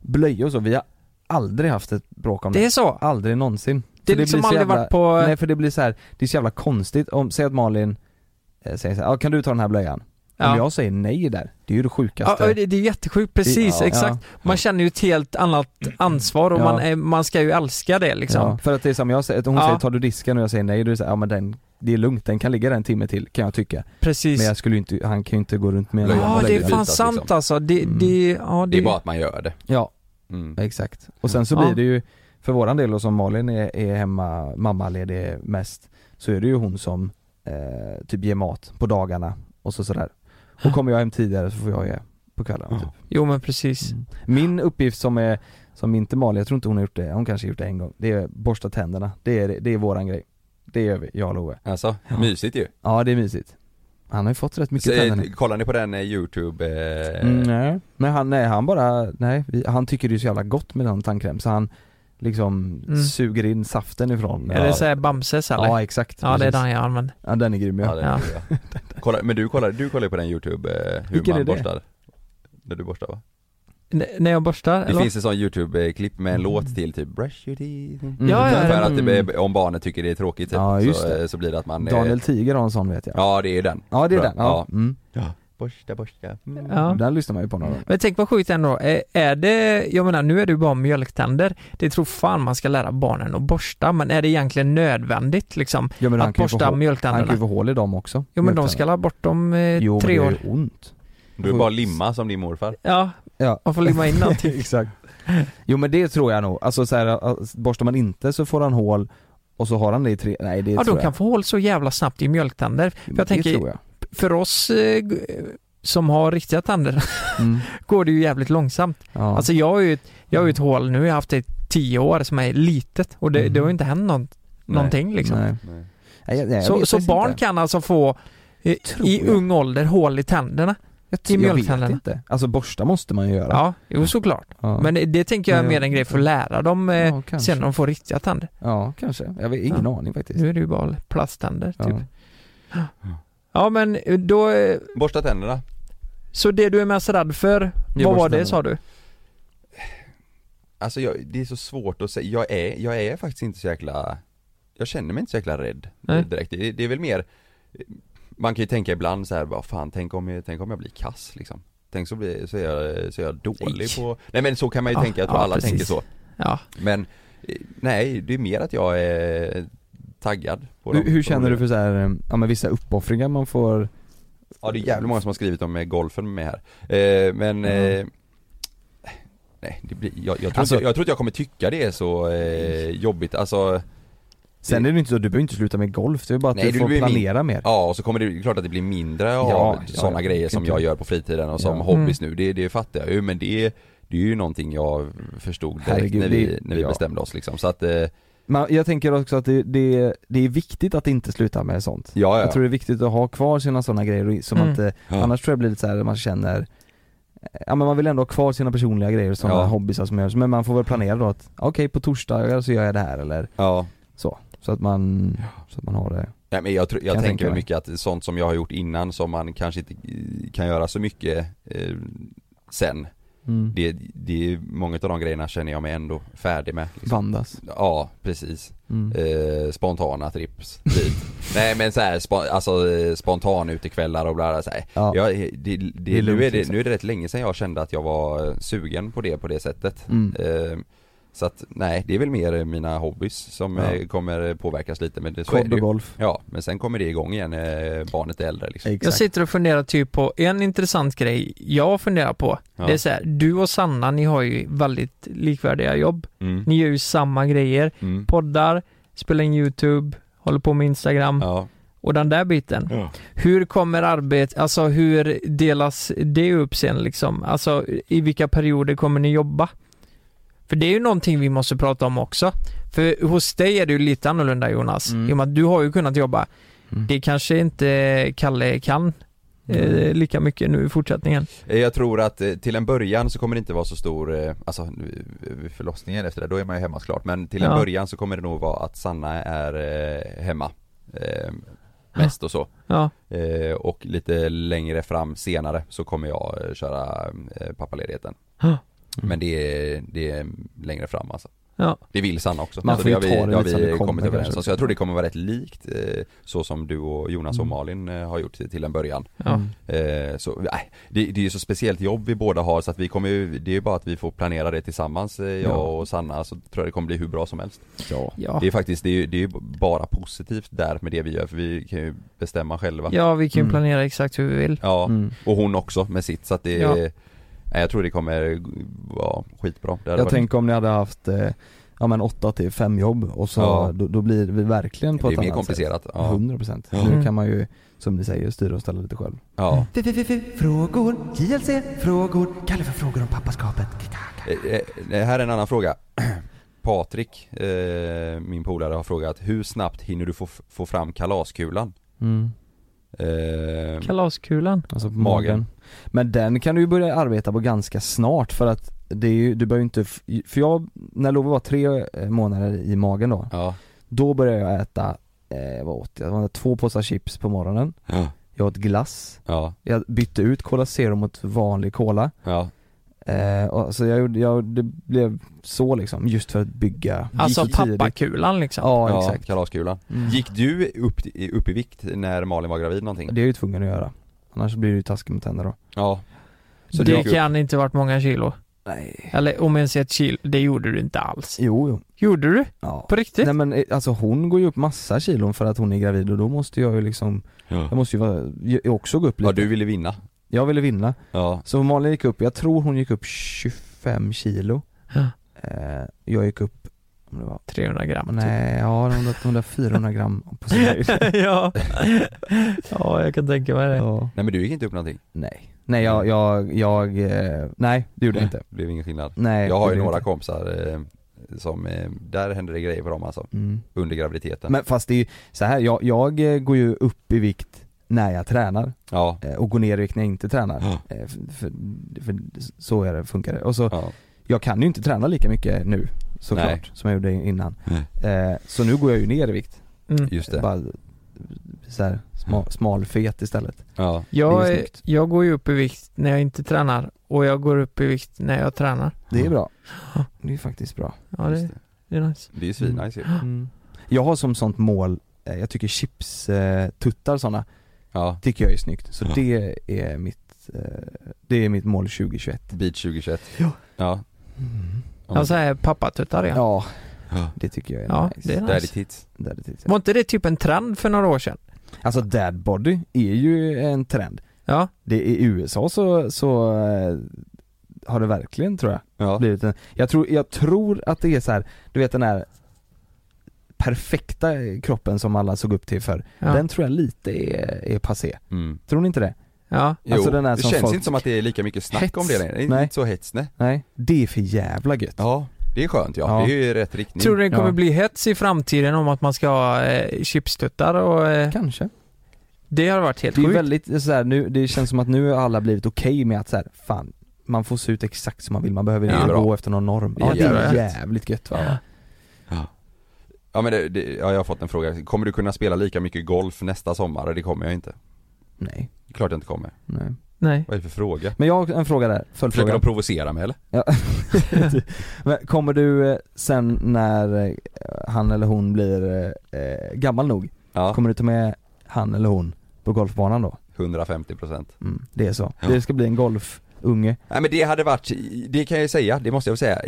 [SPEAKER 2] blöjor och så, vi har aldrig haft ett bråk om det,
[SPEAKER 3] Det är så.
[SPEAKER 2] aldrig någonsin För
[SPEAKER 3] Det är liksom
[SPEAKER 2] blir så
[SPEAKER 3] aldrig
[SPEAKER 2] jävla-
[SPEAKER 3] varit på...
[SPEAKER 2] Nej för det blir så här, det är så jävla konstigt om, säg att Malin eh, säger så här, "Ja, kan du ta den här blöjan? Om jag säger nej där, det är ju det
[SPEAKER 3] Ja,
[SPEAKER 2] sjukaste
[SPEAKER 3] ja, det, det är jättesjukt, precis,
[SPEAKER 1] Ja.
[SPEAKER 3] exakt. Man känner ju ett helt annat ansvar och
[SPEAKER 2] Mm. Ja.
[SPEAKER 3] man, är, man ska ju älska det liksom.
[SPEAKER 2] Ja, för att det är som jag säger, att hon
[SPEAKER 3] Ja.
[SPEAKER 2] säger tar du disken och jag säger nej, då är det så här, ja men den, det är lugnt, den kan ligga där en timme till kan jag tycka
[SPEAKER 3] Precis.
[SPEAKER 2] Men jag skulle ju inte, han kan ju inte gå runt med en
[SPEAKER 1] Blöjan
[SPEAKER 3] ja,
[SPEAKER 1] måste
[SPEAKER 3] det
[SPEAKER 1] ju
[SPEAKER 3] är fan
[SPEAKER 1] bytas,
[SPEAKER 3] sant
[SPEAKER 1] liksom.
[SPEAKER 3] alltså. Det,
[SPEAKER 2] Mm.
[SPEAKER 3] det, ja, det,
[SPEAKER 1] Det är bara att man gör det
[SPEAKER 2] Ja,
[SPEAKER 1] mm.
[SPEAKER 2] exakt. Och sen så
[SPEAKER 3] Ja.
[SPEAKER 2] blir det ju, för våran del då som Malin är, är hemma, mammaledig mest, så är det ju hon som eh, typ ger mat på dagarna och så sådär. Och kommer jag hem tidigare så får jag ge på kvällarna typ.
[SPEAKER 3] Jo men precis.
[SPEAKER 2] Min uppgift som är, som inte Malin, jag tror inte hon har gjort det, hon kanske har gjort det en gång, det är borsta tänderna. Det är, det är våran grej. Det gör vi, jag och Loe.
[SPEAKER 1] Alltså, mysigt ju
[SPEAKER 2] Ja det är mysigt. Han har ju fått rätt mycket
[SPEAKER 1] Så,
[SPEAKER 2] tänder
[SPEAKER 1] eh,
[SPEAKER 2] nu.
[SPEAKER 1] kollar ni på den eh, youtube eh,
[SPEAKER 2] Mm, nej. Men han, nej han bara, nej, vi, han tycker det är så jävla gott med den tandkräm så han liksom
[SPEAKER 3] Mm.
[SPEAKER 2] suger in saften ifrån.
[SPEAKER 3] Är det såhär Bamses eller?
[SPEAKER 2] Mm. Ja exakt.
[SPEAKER 3] Ja, det är
[SPEAKER 2] precis.
[SPEAKER 3] den jag använder.
[SPEAKER 2] Ja, den är grym ja.
[SPEAKER 1] Ja, det är det, ja. Kolla, men du kollar, du kollar ju på den youtube, eh, hur
[SPEAKER 2] Vilken är
[SPEAKER 1] man
[SPEAKER 2] det?
[SPEAKER 1] borstar När du borstar va?
[SPEAKER 3] N- när jag borstar?
[SPEAKER 1] Det
[SPEAKER 3] eller?
[SPEAKER 1] finns en sån youtube-klipp med en låt till typ 'Brush your teeth'
[SPEAKER 2] Mm.
[SPEAKER 3] Ja, ja,
[SPEAKER 1] För
[SPEAKER 3] ja.
[SPEAKER 1] att det, blir- om barnet tycker det är tråkigt typ,
[SPEAKER 2] Ja, just
[SPEAKER 1] så,
[SPEAKER 2] det.
[SPEAKER 1] eh, så blir det att man eh,
[SPEAKER 2] Mm. Daniel Tiger har en sån vet jag.
[SPEAKER 1] Ja det är den
[SPEAKER 2] Ja, det är
[SPEAKER 1] Bra.
[SPEAKER 2] den. Ja. Mm.
[SPEAKER 1] Borsta, borsta mm.
[SPEAKER 3] Ja.
[SPEAKER 2] Den lyssnar man ju på några gånger.
[SPEAKER 3] Men tänk vad sjukt ändå. Är, är det, jag menar nu är det ju bara mjölktänder. Det tror fan man ska lära barnen att borsta. Men är det egentligen nödvändigt liksom?
[SPEAKER 2] Ja, men han
[SPEAKER 3] Att
[SPEAKER 2] kan ju få
[SPEAKER 3] borsta
[SPEAKER 2] hål- Han kan ju
[SPEAKER 3] mjölktänderna?
[SPEAKER 2] få hål i dem också.
[SPEAKER 3] Jo men de ska la bort dem eh,
[SPEAKER 2] Jo, men
[SPEAKER 3] tre
[SPEAKER 2] det
[SPEAKER 3] år.
[SPEAKER 2] gör ju ont.
[SPEAKER 1] Du är bara limma som din morfar
[SPEAKER 3] Ja,
[SPEAKER 2] Ja.
[SPEAKER 3] man får limma in någonting.
[SPEAKER 2] Exakt. Jo men det tror jag nog. Alltså så här, att borstar man inte så får han hål och så har han det i tre, nej det
[SPEAKER 3] Ja,
[SPEAKER 2] tror
[SPEAKER 3] de
[SPEAKER 2] jag.
[SPEAKER 3] kan få hål så jävla snabbt i mjölktänder. För
[SPEAKER 2] Men
[SPEAKER 3] jag
[SPEAKER 2] det
[SPEAKER 3] tänker,
[SPEAKER 2] tror jag.
[SPEAKER 3] för oss eh, g- som har riktiga tänder
[SPEAKER 2] Mm.
[SPEAKER 3] går det ju jävligt långsamt.
[SPEAKER 2] Ja.
[SPEAKER 3] Alltså jag har ju ett, jag har ju ett hål nu, jag har haft det i tio år som är litet och det,
[SPEAKER 2] Mm.
[SPEAKER 3] det har ju inte hänt någon, någonting liksom.
[SPEAKER 2] Nej.
[SPEAKER 1] Nej.
[SPEAKER 2] Nej, jag- nej, jag
[SPEAKER 3] så
[SPEAKER 2] vet
[SPEAKER 3] så
[SPEAKER 2] faktiskt
[SPEAKER 3] barn
[SPEAKER 2] inte.
[SPEAKER 3] kan alltså få eh,
[SPEAKER 2] Tror
[SPEAKER 3] i
[SPEAKER 2] jag.
[SPEAKER 3] ung ålder hål i tänderna?
[SPEAKER 2] jag,
[SPEAKER 3] i
[SPEAKER 2] tror- jag vet
[SPEAKER 3] mjölktänderna.
[SPEAKER 2] inte. Alltså borsta måste man ju göra.
[SPEAKER 3] Ja, jo såklart.
[SPEAKER 2] Ja.
[SPEAKER 3] Men det, det tänker jag är
[SPEAKER 2] Men jag-
[SPEAKER 3] mer en grej för att lära dem eh,
[SPEAKER 2] Ja, kanske.
[SPEAKER 3] sen när de får riktiga tänder.
[SPEAKER 2] Ja, kanske. Jag har ingen aning faktiskt.
[SPEAKER 3] Nu är det ju bara plasttänder
[SPEAKER 2] Ja.
[SPEAKER 3] typ. Ja men eh, då, eh,
[SPEAKER 1] Borsta tänderna
[SPEAKER 3] så det du är mest rädd för, vad var det
[SPEAKER 2] borsttänderna.
[SPEAKER 3] sa du?
[SPEAKER 1] Alltså jag, det är så svårt att säga, jag är, jag är faktiskt inte så jäkla Jag känner mig inte så jäkla rädd
[SPEAKER 3] Nej.
[SPEAKER 1] direkt, det, det är väl mer Man kan ju tänka ibland så här, vad fan tänk om, jag- tänk om jag blir kass liksom Tänk så, blir, så, är, jag, så är jag dålig
[SPEAKER 3] Nej.
[SPEAKER 1] på Nej men så kan man ju
[SPEAKER 2] Ah,
[SPEAKER 3] Ja,
[SPEAKER 1] tänka, jag tror
[SPEAKER 3] ja,
[SPEAKER 1] alla
[SPEAKER 3] precis.
[SPEAKER 1] tänker så
[SPEAKER 3] Ja.
[SPEAKER 1] Men eh, nej, det är mer att jag är taggad på
[SPEAKER 2] Hur,
[SPEAKER 1] dem.
[SPEAKER 2] hur känner du för så här, eh, ja men vissa uppoffringar man får?
[SPEAKER 1] Ja det är jävligt många som har skrivit om eh, golfen med här eh, Men eh, Nej, det blir, jag, jag, tror
[SPEAKER 2] Alltså-
[SPEAKER 1] inte, jag tror inte jag kommer tycka det är så eh, jobbigt, alltså
[SPEAKER 2] Sen är det ju inte så, du behöver inte sluta med golf, det är bara att
[SPEAKER 1] Nej,
[SPEAKER 2] du
[SPEAKER 1] det
[SPEAKER 2] får
[SPEAKER 1] blir min-
[SPEAKER 2] planera mer.
[SPEAKER 1] Ja och så kommer det, det är klart att det blir mindre
[SPEAKER 2] Ja,
[SPEAKER 1] av
[SPEAKER 2] ja,
[SPEAKER 1] sådana
[SPEAKER 2] ja,
[SPEAKER 1] grejer som
[SPEAKER 2] inte.
[SPEAKER 1] jag gör på fritiden och som
[SPEAKER 2] Ja.
[SPEAKER 1] hobbys nu, det, det fattar jag ju men det det är ju någonting jag förstod direkt
[SPEAKER 2] Herregud,
[SPEAKER 1] när vi,
[SPEAKER 2] det-
[SPEAKER 1] när vi
[SPEAKER 2] ja.
[SPEAKER 1] bestämde oss liksom så att, eh, ja,
[SPEAKER 2] Men jag tänker också att det, det, det är viktigt att inte sluta med sånt.
[SPEAKER 1] ja,
[SPEAKER 2] Jag tror det är viktigt att ha kvar sina sådana grejer och- som eh,
[SPEAKER 3] Mm.
[SPEAKER 2] man inte,
[SPEAKER 1] Ja.
[SPEAKER 2] annars tror jag det blir lite så här man känner eh, Ja men man vill ändå ha kvar sina personliga grejer och sådana
[SPEAKER 1] Ja.
[SPEAKER 2] hobbysar som man gör, men man får väl planera då att okej på torsdagar så gör jag det här eller
[SPEAKER 1] ja.
[SPEAKER 2] så, så att man, så att man har det
[SPEAKER 1] Nej, men jag, tror- jag
[SPEAKER 2] Kan
[SPEAKER 1] tänker
[SPEAKER 2] jag tänka
[SPEAKER 1] väl
[SPEAKER 2] mig.
[SPEAKER 1] mycket att sånt som jag har gjort innan som man kanske inte eh, kan göra så mycket eh, sen.
[SPEAKER 2] mm.
[SPEAKER 1] Det, det är många av de grejerna känner jag mig ändå färdig med. Liksom.
[SPEAKER 2] Vandas
[SPEAKER 1] Ja, precis.
[SPEAKER 2] mm.
[SPEAKER 1] Eh, spontana trips dit. Nej men så här, spo- alltså eh, spontan utekvällar och bla bla så här.
[SPEAKER 2] Ja.
[SPEAKER 1] Jag, det, det,
[SPEAKER 2] är lugnt,
[SPEAKER 1] nu, är det,
[SPEAKER 2] liksom.
[SPEAKER 1] nu är det rätt länge sedan jag kände att jag var eh, sugen på det på det sättet.
[SPEAKER 2] Mm.
[SPEAKER 1] Eh, så att nej, det är väl mer eh, mina hobbys som
[SPEAKER 2] Ja.
[SPEAKER 1] eh, kommer påverkas lite men det, så är
[SPEAKER 2] Kod
[SPEAKER 1] det
[SPEAKER 2] och
[SPEAKER 1] ju.
[SPEAKER 2] golf
[SPEAKER 1] Ja, men sen kommer det igång igen när barnet är äldre liksom.
[SPEAKER 2] Exakt.
[SPEAKER 3] Jag sitter och funderar typ på en intressant grej jag funderar på.
[SPEAKER 1] Ja.
[SPEAKER 3] Det är så här, du och Sanna ni har ju väldigt likvärdiga jobb.
[SPEAKER 1] Mm.
[SPEAKER 3] Ni gör ju samma grejer.
[SPEAKER 1] Mm.
[SPEAKER 3] Poddar, spelar in YouTube, håller på med Instagram
[SPEAKER 1] Ja.
[SPEAKER 3] och den där biten.
[SPEAKER 1] Ja.
[SPEAKER 3] Hur kommer arbetet, alltså hur delas det upp sen liksom? Alltså i vilka perioder kommer ni jobba? För det är ju någonting vi måste prata om också. För hos dig är det ju lite annorlunda Jonas.
[SPEAKER 2] Mm.
[SPEAKER 3] I och med att du har ju kunnat jobba.
[SPEAKER 2] Mm.
[SPEAKER 3] Det kanske inte Kalle kan eh,
[SPEAKER 2] Mm.
[SPEAKER 3] lika mycket nu i fortsättningen.
[SPEAKER 1] Eh, Jag tror att eh, till en början så kommer det inte vara så stor, eh, alltså nu, eh, vid förlossningen efter det, då är man ju hemma såklart men till en
[SPEAKER 3] Ja.
[SPEAKER 1] början så kommer det nog vara att Sanna är eh, hemma eh, mest och så
[SPEAKER 3] Ja,
[SPEAKER 1] eh, och lite längre fram senare så kommer jag eh, köra eh, pappaledigheten
[SPEAKER 3] Ja.
[SPEAKER 2] Mm.
[SPEAKER 1] men det är, det är längre fram alltså
[SPEAKER 3] ja.
[SPEAKER 1] det vill Sanna också.
[SPEAKER 2] Man
[SPEAKER 1] så
[SPEAKER 2] får
[SPEAKER 1] det
[SPEAKER 2] ju
[SPEAKER 1] har vi,
[SPEAKER 2] ta det
[SPEAKER 1] det har
[SPEAKER 2] lite som det
[SPEAKER 1] vi
[SPEAKER 2] kommer
[SPEAKER 1] kommit överens
[SPEAKER 2] kanske.
[SPEAKER 1] om. Så jag tror det kommer vara rätt likt eh, så som du och Jonas
[SPEAKER 2] Mm.
[SPEAKER 1] och Malin eh, har gjort till till en början.
[SPEAKER 3] ja.
[SPEAKER 1] Eh, så, nej, det, det är ju så speciellt jobb vi båda har så att vi kommer ju, det är ju bara att vi får planera det tillsammans, eh, jag
[SPEAKER 2] Ja.
[SPEAKER 1] och Sanna, så tror jag det kommer bli hur bra som helst.
[SPEAKER 2] Ja,
[SPEAKER 3] ja.
[SPEAKER 1] Det är faktiskt, det är ju det är ju bara positivt där med det vi gör för vi kan ju bestämma själva.
[SPEAKER 3] ja vi kan ju
[SPEAKER 2] Mm.
[SPEAKER 3] planera exakt hur vi vill.
[SPEAKER 1] Ja,
[SPEAKER 2] Mm.
[SPEAKER 1] och hon också med sitt så att det
[SPEAKER 3] Ja.
[SPEAKER 1] Nej, jag tror det kommer vara skitbra. Det hade
[SPEAKER 2] Jag
[SPEAKER 1] varit-
[SPEAKER 2] tänker om ni hade haft eh, ja men 8 till 5 jobb och så,
[SPEAKER 1] Ja.
[SPEAKER 2] då, då blir vi verkligen på
[SPEAKER 1] det
[SPEAKER 2] ett
[SPEAKER 1] är mer
[SPEAKER 2] annat
[SPEAKER 1] komplicerat.
[SPEAKER 2] sätt
[SPEAKER 1] Ja.
[SPEAKER 2] 100%
[SPEAKER 1] Ja.
[SPEAKER 2] Nu kan man ju, som ni säger, styra och ställa lite själv
[SPEAKER 1] ja.
[SPEAKER 8] Frågor, JLC-frågor, Kalle för frågor om pappaskapet.
[SPEAKER 1] Eh, eh, här är en annan fråga. Patrik, eh, min polare, har frågat hur snabbt hinner du få, få fram kalaskulan?
[SPEAKER 2] mm.
[SPEAKER 1] Eh,
[SPEAKER 3] Kalaskulan.
[SPEAKER 1] Mm.
[SPEAKER 2] Alltså på
[SPEAKER 1] Magen.
[SPEAKER 2] magen. Men den kan du ju börja arbeta på ganska snart för att det är ju, du behöver ju inte, f- för jag, när Love var tre eh, månader i magen då,
[SPEAKER 1] Ja.
[SPEAKER 2] då började jag äta, eh, vad åt jag? Det var två påsar chips på morgonen,
[SPEAKER 1] Ja.
[SPEAKER 2] jag åt glass,
[SPEAKER 1] Ja.
[SPEAKER 2] jag bytte ut Cola Zero mot vanlig Cola,
[SPEAKER 1] Ja.
[SPEAKER 2] eh, och, så jag gjorde, jag, det blev så liksom, just för att bygga
[SPEAKER 3] Alltså
[SPEAKER 2] gick så tidigt.
[SPEAKER 3] pappakulan liksom.
[SPEAKER 2] Ja,
[SPEAKER 1] ja
[SPEAKER 2] exakt.
[SPEAKER 1] kalaskulan.
[SPEAKER 2] Mm.
[SPEAKER 1] Gick du upp, i- upp i vikt när Malin var gravid någonting?
[SPEAKER 2] Det är jag ju tvungen att göra, annars blir det ju taskigt mot henne då
[SPEAKER 1] Ja. Så du
[SPEAKER 3] det
[SPEAKER 1] gick upp?
[SPEAKER 3] kan inte varit många kilo.
[SPEAKER 2] Nej
[SPEAKER 3] Eller om ens ett kilo, det gjorde du inte alls.
[SPEAKER 2] Jo, jo
[SPEAKER 3] Gjorde du?
[SPEAKER 2] ja.
[SPEAKER 3] På riktigt?
[SPEAKER 2] Nej men eh, alltså hon går ju upp massa kilon för att hon är gravid och då måste jag ju liksom, jag
[SPEAKER 1] Ja.
[SPEAKER 2] måste ju vara, jag också gå upp lite
[SPEAKER 1] ja, du ville vinna.
[SPEAKER 2] Jag ville vinna,
[SPEAKER 1] Ja.
[SPEAKER 2] så Malin gick upp, jag tror hon gick upp 25 kilo
[SPEAKER 3] Ja.
[SPEAKER 2] eh, Jag gick upp, om det var
[SPEAKER 3] 300 gram
[SPEAKER 2] Nej, ja de där, de där 400 gram på sin höjd
[SPEAKER 3] typ. ja. ja, jag kan tänka mig det.
[SPEAKER 2] ja,
[SPEAKER 1] Nej men du gick inte upp någonting.
[SPEAKER 2] Nej, nej jag, jag, jag, eh, nej det gjorde jag inte
[SPEAKER 1] Det blev ingen skillnad.
[SPEAKER 2] Nej,
[SPEAKER 1] Jag har ju
[SPEAKER 2] det gjorde
[SPEAKER 1] några
[SPEAKER 2] jag inte.
[SPEAKER 1] kompisar eh, som, eh, där händer det grejer för dem alltså,
[SPEAKER 2] mm.
[SPEAKER 1] under graviditeten.
[SPEAKER 2] Men fast det är ju så här, jag, jag eh, går ju upp i vikt när jag tränar
[SPEAKER 1] Ja.
[SPEAKER 2] eh, och går ner i vikt när jag inte tränar.
[SPEAKER 1] Ja.
[SPEAKER 2] Eh, För, för, för så är det, funkar det. Och så,
[SPEAKER 1] Ja.
[SPEAKER 2] jag kan ju inte träna lika mycket nu såklart
[SPEAKER 1] Nej.
[SPEAKER 2] som jag gjorde innan. Eh, Så nu går jag ju ner i vikt.
[SPEAKER 3] Mm.
[SPEAKER 1] Just det.
[SPEAKER 2] Bara så här, smal, smalfet istället.
[SPEAKER 1] Ja.
[SPEAKER 2] Det
[SPEAKER 3] Jag,
[SPEAKER 2] är
[SPEAKER 3] är-
[SPEAKER 2] snyggt.
[SPEAKER 3] jag går ju upp i vikt när jag inte tränar och jag går upp i vikt när jag tränar.
[SPEAKER 2] Det är
[SPEAKER 1] Ja.
[SPEAKER 2] bra. Det är faktiskt bra.
[SPEAKER 3] Ja,
[SPEAKER 1] Just
[SPEAKER 3] det,
[SPEAKER 1] det.
[SPEAKER 3] det är nice.
[SPEAKER 1] det är ju svinnice ju.
[SPEAKER 2] Jag har som sånt mål, eh, jag tycker chips, eh, tuttar sådana,
[SPEAKER 1] Ja.
[SPEAKER 2] tycker jag är snyggt. Så
[SPEAKER 1] Ja.
[SPEAKER 2] det är mitt, eh, det är mitt mål 2021.
[SPEAKER 1] Beach 2021.
[SPEAKER 2] Ja.
[SPEAKER 1] Ja. Ja,
[SPEAKER 3] Jag säger pappatuttar ja.
[SPEAKER 2] Ja,
[SPEAKER 1] Ja.
[SPEAKER 2] det tycker jag är
[SPEAKER 3] Ja,
[SPEAKER 2] nice.
[SPEAKER 3] det är nice.
[SPEAKER 1] Daddy tits.
[SPEAKER 2] Daddy tits, ja.
[SPEAKER 3] Var inte det typ en trend för några år sedan?
[SPEAKER 2] Alltså dad body är ju en trend.
[SPEAKER 3] Ja,
[SPEAKER 2] Det, I USA så, så eh, har det verkligen tror jag
[SPEAKER 1] Ja.
[SPEAKER 2] blivit en, jag tror, jag tror att det är så här, du vet den här perfekta kroppen som alla såg upp till förr,
[SPEAKER 3] Ja.
[SPEAKER 2] den tror jag lite är, är passé.
[SPEAKER 1] Mm.
[SPEAKER 2] Tror ni inte det?
[SPEAKER 3] ja.
[SPEAKER 1] Jo,
[SPEAKER 2] Alltså, den här
[SPEAKER 1] det
[SPEAKER 2] som
[SPEAKER 1] känns
[SPEAKER 2] folk-
[SPEAKER 1] inte som att det är lika mycket snack
[SPEAKER 2] Hets.
[SPEAKER 1] om det längre. Det är
[SPEAKER 2] Nej.
[SPEAKER 1] inte så hets nej.
[SPEAKER 2] Nej, det är för jävla gött.
[SPEAKER 1] Ja, det är skönt ja.
[SPEAKER 2] Ja.
[SPEAKER 1] Det är ju i rätt riktning.
[SPEAKER 3] Tror du det kommer
[SPEAKER 2] Mm. Ja.
[SPEAKER 3] bli hets i framtiden om att man ska ha eh, chipstuttar och eh,
[SPEAKER 2] Kanske.
[SPEAKER 3] det har varit helt
[SPEAKER 2] Det är ju
[SPEAKER 3] sjukt.
[SPEAKER 2] väldigt så här, nu, det känns som att nu har alla blivit okej med att så här, fan, man får se ut exakt som man vill, man behöver
[SPEAKER 1] Det är
[SPEAKER 2] inte
[SPEAKER 1] bra.
[SPEAKER 2] gå efter någon norm. Ja, det är jävligt gött va?
[SPEAKER 1] Ja men det, det, ja, jag har fått en fråga. Kommer du kunna spela lika mycket golf nästa sommar? Det kommer jag inte.
[SPEAKER 2] Nej,
[SPEAKER 1] Klart jag inte kommer.
[SPEAKER 2] nej.
[SPEAKER 3] Nej.
[SPEAKER 1] Vad är det för fråga?
[SPEAKER 2] Men jag har en fråga där,
[SPEAKER 1] Försöker
[SPEAKER 2] följdfråga.
[SPEAKER 1] de provocera mig eller?
[SPEAKER 2] Ja. Men kommer du eh, sen när eh, han eller hon blir eh, eh, gammal nog,
[SPEAKER 1] Ja,
[SPEAKER 2] kommer du ta med han eller hon på golfbanan då?
[SPEAKER 1] 150%.
[SPEAKER 2] Mm, det är så.
[SPEAKER 1] Ja.
[SPEAKER 2] Det ska bli en golfunge.
[SPEAKER 1] Nej men det hade varit, det kan jag ju säga, det måste jag väl säga.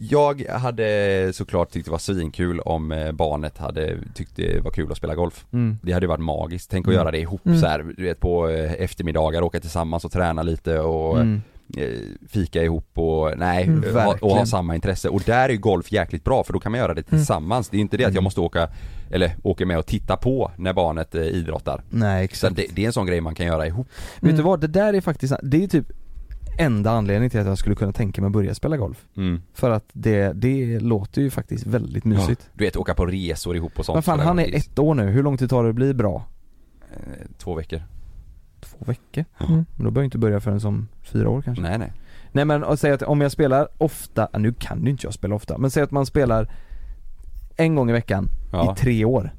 [SPEAKER 1] Jag hade såklart tyckt det var svinkul om eh, barnet hade tyckt det var kul att spela golf.
[SPEAKER 2] Mm.
[SPEAKER 1] Det hade ju varit magiskt, tänk att
[SPEAKER 2] Mm.
[SPEAKER 1] göra det ihop
[SPEAKER 3] Mm.
[SPEAKER 1] så här, du vet på eh, eftermiddagar, åka tillsammans och träna lite och
[SPEAKER 2] Mm.
[SPEAKER 1] eh, fika ihop och nej,
[SPEAKER 3] Mm,
[SPEAKER 1] och ha, och ha
[SPEAKER 2] verkligen.
[SPEAKER 1] samma intresse. Och där är ju golf jäkligt bra för då kan man göra det tillsammans. Det är ju inte det att jag
[SPEAKER 2] Mm.
[SPEAKER 1] måste åka, eller åka med och titta på när barnet eh, idrottar.
[SPEAKER 2] Nej
[SPEAKER 1] Så
[SPEAKER 2] exakt.
[SPEAKER 1] det, det är en sån grej man kan göra ihop.
[SPEAKER 2] Vet du vad, det där är faktiskt, det är typ enda anledningen till att jag skulle kunna tänka mig att börja spela golf.
[SPEAKER 1] Mm.
[SPEAKER 2] För att det, det låter ju faktiskt väldigt mysigt.
[SPEAKER 1] Du vet, åka på resor ihop och sånt.
[SPEAKER 2] Men fan
[SPEAKER 1] Sådär.
[SPEAKER 2] han är ett år nu, hur lång tid tar det att bli bra?
[SPEAKER 1] Eh, Två veckor.
[SPEAKER 2] Två veckor?
[SPEAKER 1] Ja.
[SPEAKER 2] Mm. Men då behöver jag inte börja förrän som fyra år kanske.
[SPEAKER 1] Nej nej.
[SPEAKER 2] Nej men och säg att om jag spelar ofta, nu kan ju inte jag spela ofta, men säg att man spelar en gång i veckan
[SPEAKER 1] Ja.
[SPEAKER 2] i tre år.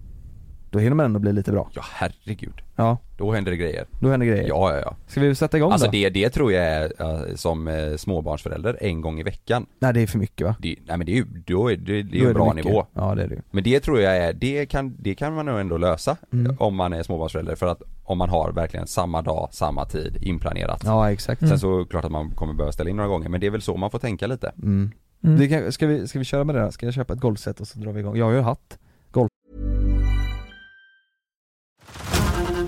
[SPEAKER 2] Då hinner man ändå bli lite bra.
[SPEAKER 1] Ja herregud.
[SPEAKER 2] Ja,
[SPEAKER 1] Då händer det grejer.
[SPEAKER 2] då händer grejer.
[SPEAKER 1] Ja ja ja.
[SPEAKER 2] Ska vi sätta igång
[SPEAKER 1] Alltså
[SPEAKER 2] Eh, då?
[SPEAKER 1] det, det tror jag är eh, som eh, småbarnsförälder en gång i veckan.
[SPEAKER 2] Nej det är för mycket va?
[SPEAKER 1] Det, nej men det är ju, då är, det, det är
[SPEAKER 2] Då
[SPEAKER 1] ju en bra
[SPEAKER 2] mycket.
[SPEAKER 1] nivå.
[SPEAKER 2] Ja det är det ju.
[SPEAKER 1] Men det tror jag är, det kan, det kan man nog ändå lösa eh,
[SPEAKER 2] Mm.
[SPEAKER 1] om man är småbarnsförälder för att om man har verkligen samma dag, samma tid inplanerat.
[SPEAKER 2] Ja Mm. exakt.
[SPEAKER 3] Mm,
[SPEAKER 2] Alltså,
[SPEAKER 1] Sen så är det klart att man kommer behöva ställa in några gånger men det är väl så man får tänka lite.
[SPEAKER 2] Mm.
[SPEAKER 3] Mm.
[SPEAKER 2] Det kan, ska, vi, ska vi köra med det här? Ska jag köpa ett golfset och så drar vi igång? Jag har ju hatt.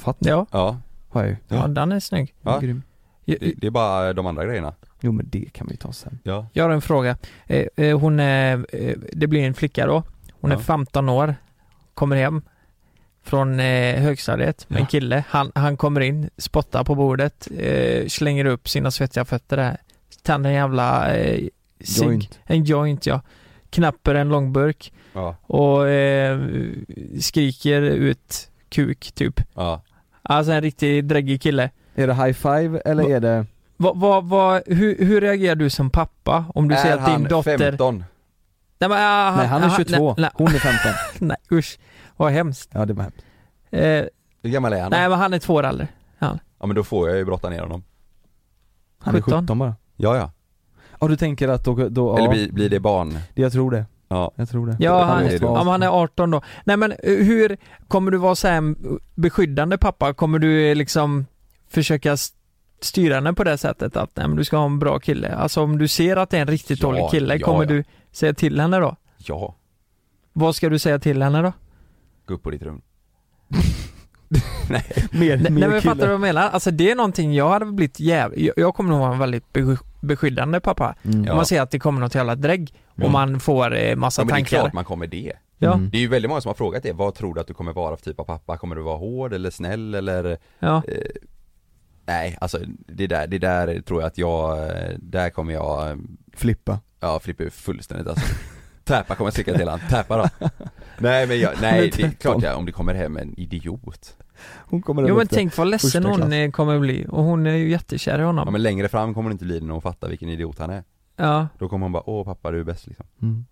[SPEAKER 2] Fatt
[SPEAKER 3] Ja.
[SPEAKER 1] Ja,
[SPEAKER 2] har jag ju.
[SPEAKER 3] ja, den är snygg.
[SPEAKER 1] ja.
[SPEAKER 2] Grym.
[SPEAKER 1] Det, det är bara de andra grejerna.
[SPEAKER 2] Jo men det kan vi ju ta sen.
[SPEAKER 1] Ja,
[SPEAKER 3] Jag har en fråga. Eh, eh, hon är, eh, det blir en flicka då. Hon är
[SPEAKER 1] Ja.
[SPEAKER 3] 15 år. Kommer hem från eh, högstadiet med en
[SPEAKER 1] Ja.
[SPEAKER 3] kille. Han, han kommer in, spottar på bordet, eh, slänger upp sina svettiga fötter där. Tänder en jävla eh, cigg,
[SPEAKER 2] Joint.
[SPEAKER 3] en joint ja. Knapper en långburk
[SPEAKER 1] ja,
[SPEAKER 3] och eh, skriker ut kuk typ.
[SPEAKER 1] ja.
[SPEAKER 3] Alltså en riktigt dräggig kille.
[SPEAKER 2] Är det high five eller
[SPEAKER 3] Va-
[SPEAKER 2] är det?
[SPEAKER 3] Vad, vad, vad, hur, hur reagerar du som pappa om du ser
[SPEAKER 1] är
[SPEAKER 3] att din
[SPEAKER 1] han
[SPEAKER 3] dotter...
[SPEAKER 1] 15?
[SPEAKER 3] Nej, men, ah,
[SPEAKER 2] nej han är 22,
[SPEAKER 3] Nej,
[SPEAKER 2] hon är 15.
[SPEAKER 3] nej, nej usch, vad hemskt.
[SPEAKER 2] Ja det var hemskt.
[SPEAKER 3] Eh, nej
[SPEAKER 1] Hur gammal är han? då?
[SPEAKER 3] men han är två år äldre.
[SPEAKER 1] Ja men då får jag ju brotta ner honom.
[SPEAKER 2] Han är
[SPEAKER 3] 17.
[SPEAKER 2] 17 bara.
[SPEAKER 1] Ja, ja.
[SPEAKER 2] Ja du tänker att då, då
[SPEAKER 1] Eller
[SPEAKER 2] ja,
[SPEAKER 1] blir, blir det barn?
[SPEAKER 2] jag tror det.
[SPEAKER 1] Ja.
[SPEAKER 2] Jag tror det.
[SPEAKER 3] Ja, han,
[SPEAKER 1] är
[SPEAKER 2] måste
[SPEAKER 1] det.
[SPEAKER 2] vara
[SPEAKER 3] om han är 18 då. Nej men eh, hur, kommer du vara så här en beskyddande pappa? Kommer du eh, liksom försöka s- styra henne på det sättet att nej, men du ska ha en bra kille? Alltså om du ser att det är en riktigt
[SPEAKER 1] Ja,
[SPEAKER 3] dålig kille,
[SPEAKER 1] ja,
[SPEAKER 3] kommer
[SPEAKER 1] ja.
[SPEAKER 3] du säga till henne då?
[SPEAKER 1] Ja.
[SPEAKER 3] Vad ska du säga till henne då?
[SPEAKER 1] Gå upp på ditt rum.
[SPEAKER 2] mer,
[SPEAKER 3] Nej,
[SPEAKER 2] mer
[SPEAKER 3] nej men
[SPEAKER 2] kille.
[SPEAKER 3] fattar du vad jag menar? Alltså det är någonting jag hade blivit jävligt, jag, jag kommer nog vara en väldigt besk- beskyddande pappa.
[SPEAKER 2] Mm.
[SPEAKER 1] Ja.
[SPEAKER 3] Om man ser att det kommer något jävla drägg
[SPEAKER 1] Mm.
[SPEAKER 3] och man får eh, massa
[SPEAKER 1] Ja, men det är
[SPEAKER 3] tankar.
[SPEAKER 1] klart man kommer det.
[SPEAKER 3] Ja,
[SPEAKER 2] Mm.
[SPEAKER 1] Det är ju väldigt många som har frågat det. Vad tror du att du kommer vara för typ av pappa? Kommer du vara hård eller snäll eller?
[SPEAKER 3] ja.
[SPEAKER 1] Eh, nej, alltså det där, det där tror jag att jag, eh, där kommer jag, eh,
[SPEAKER 2] Flippa.
[SPEAKER 1] ja flippa ur fullständigt alltså. Täpa kommer jag sticka till han, täpa då. Nej men jag,
[SPEAKER 2] Han är
[SPEAKER 1] nej det är
[SPEAKER 2] 13.
[SPEAKER 1] klart jag, om det kommer hem en idiot.
[SPEAKER 2] Hon kommer där
[SPEAKER 3] Jo men
[SPEAKER 2] uppe.
[SPEAKER 3] tänk vad ledsen
[SPEAKER 2] första
[SPEAKER 3] hon
[SPEAKER 2] klass.
[SPEAKER 3] eh, kommer bli och hon är ju jättekär i honom.
[SPEAKER 1] Ja men längre fram kommer det inte bli det när hon fattar vilken idiot han är.
[SPEAKER 3] ja.
[SPEAKER 1] Då kommer hon bara, åh pappa du är bäst liksom.
[SPEAKER 2] Mm.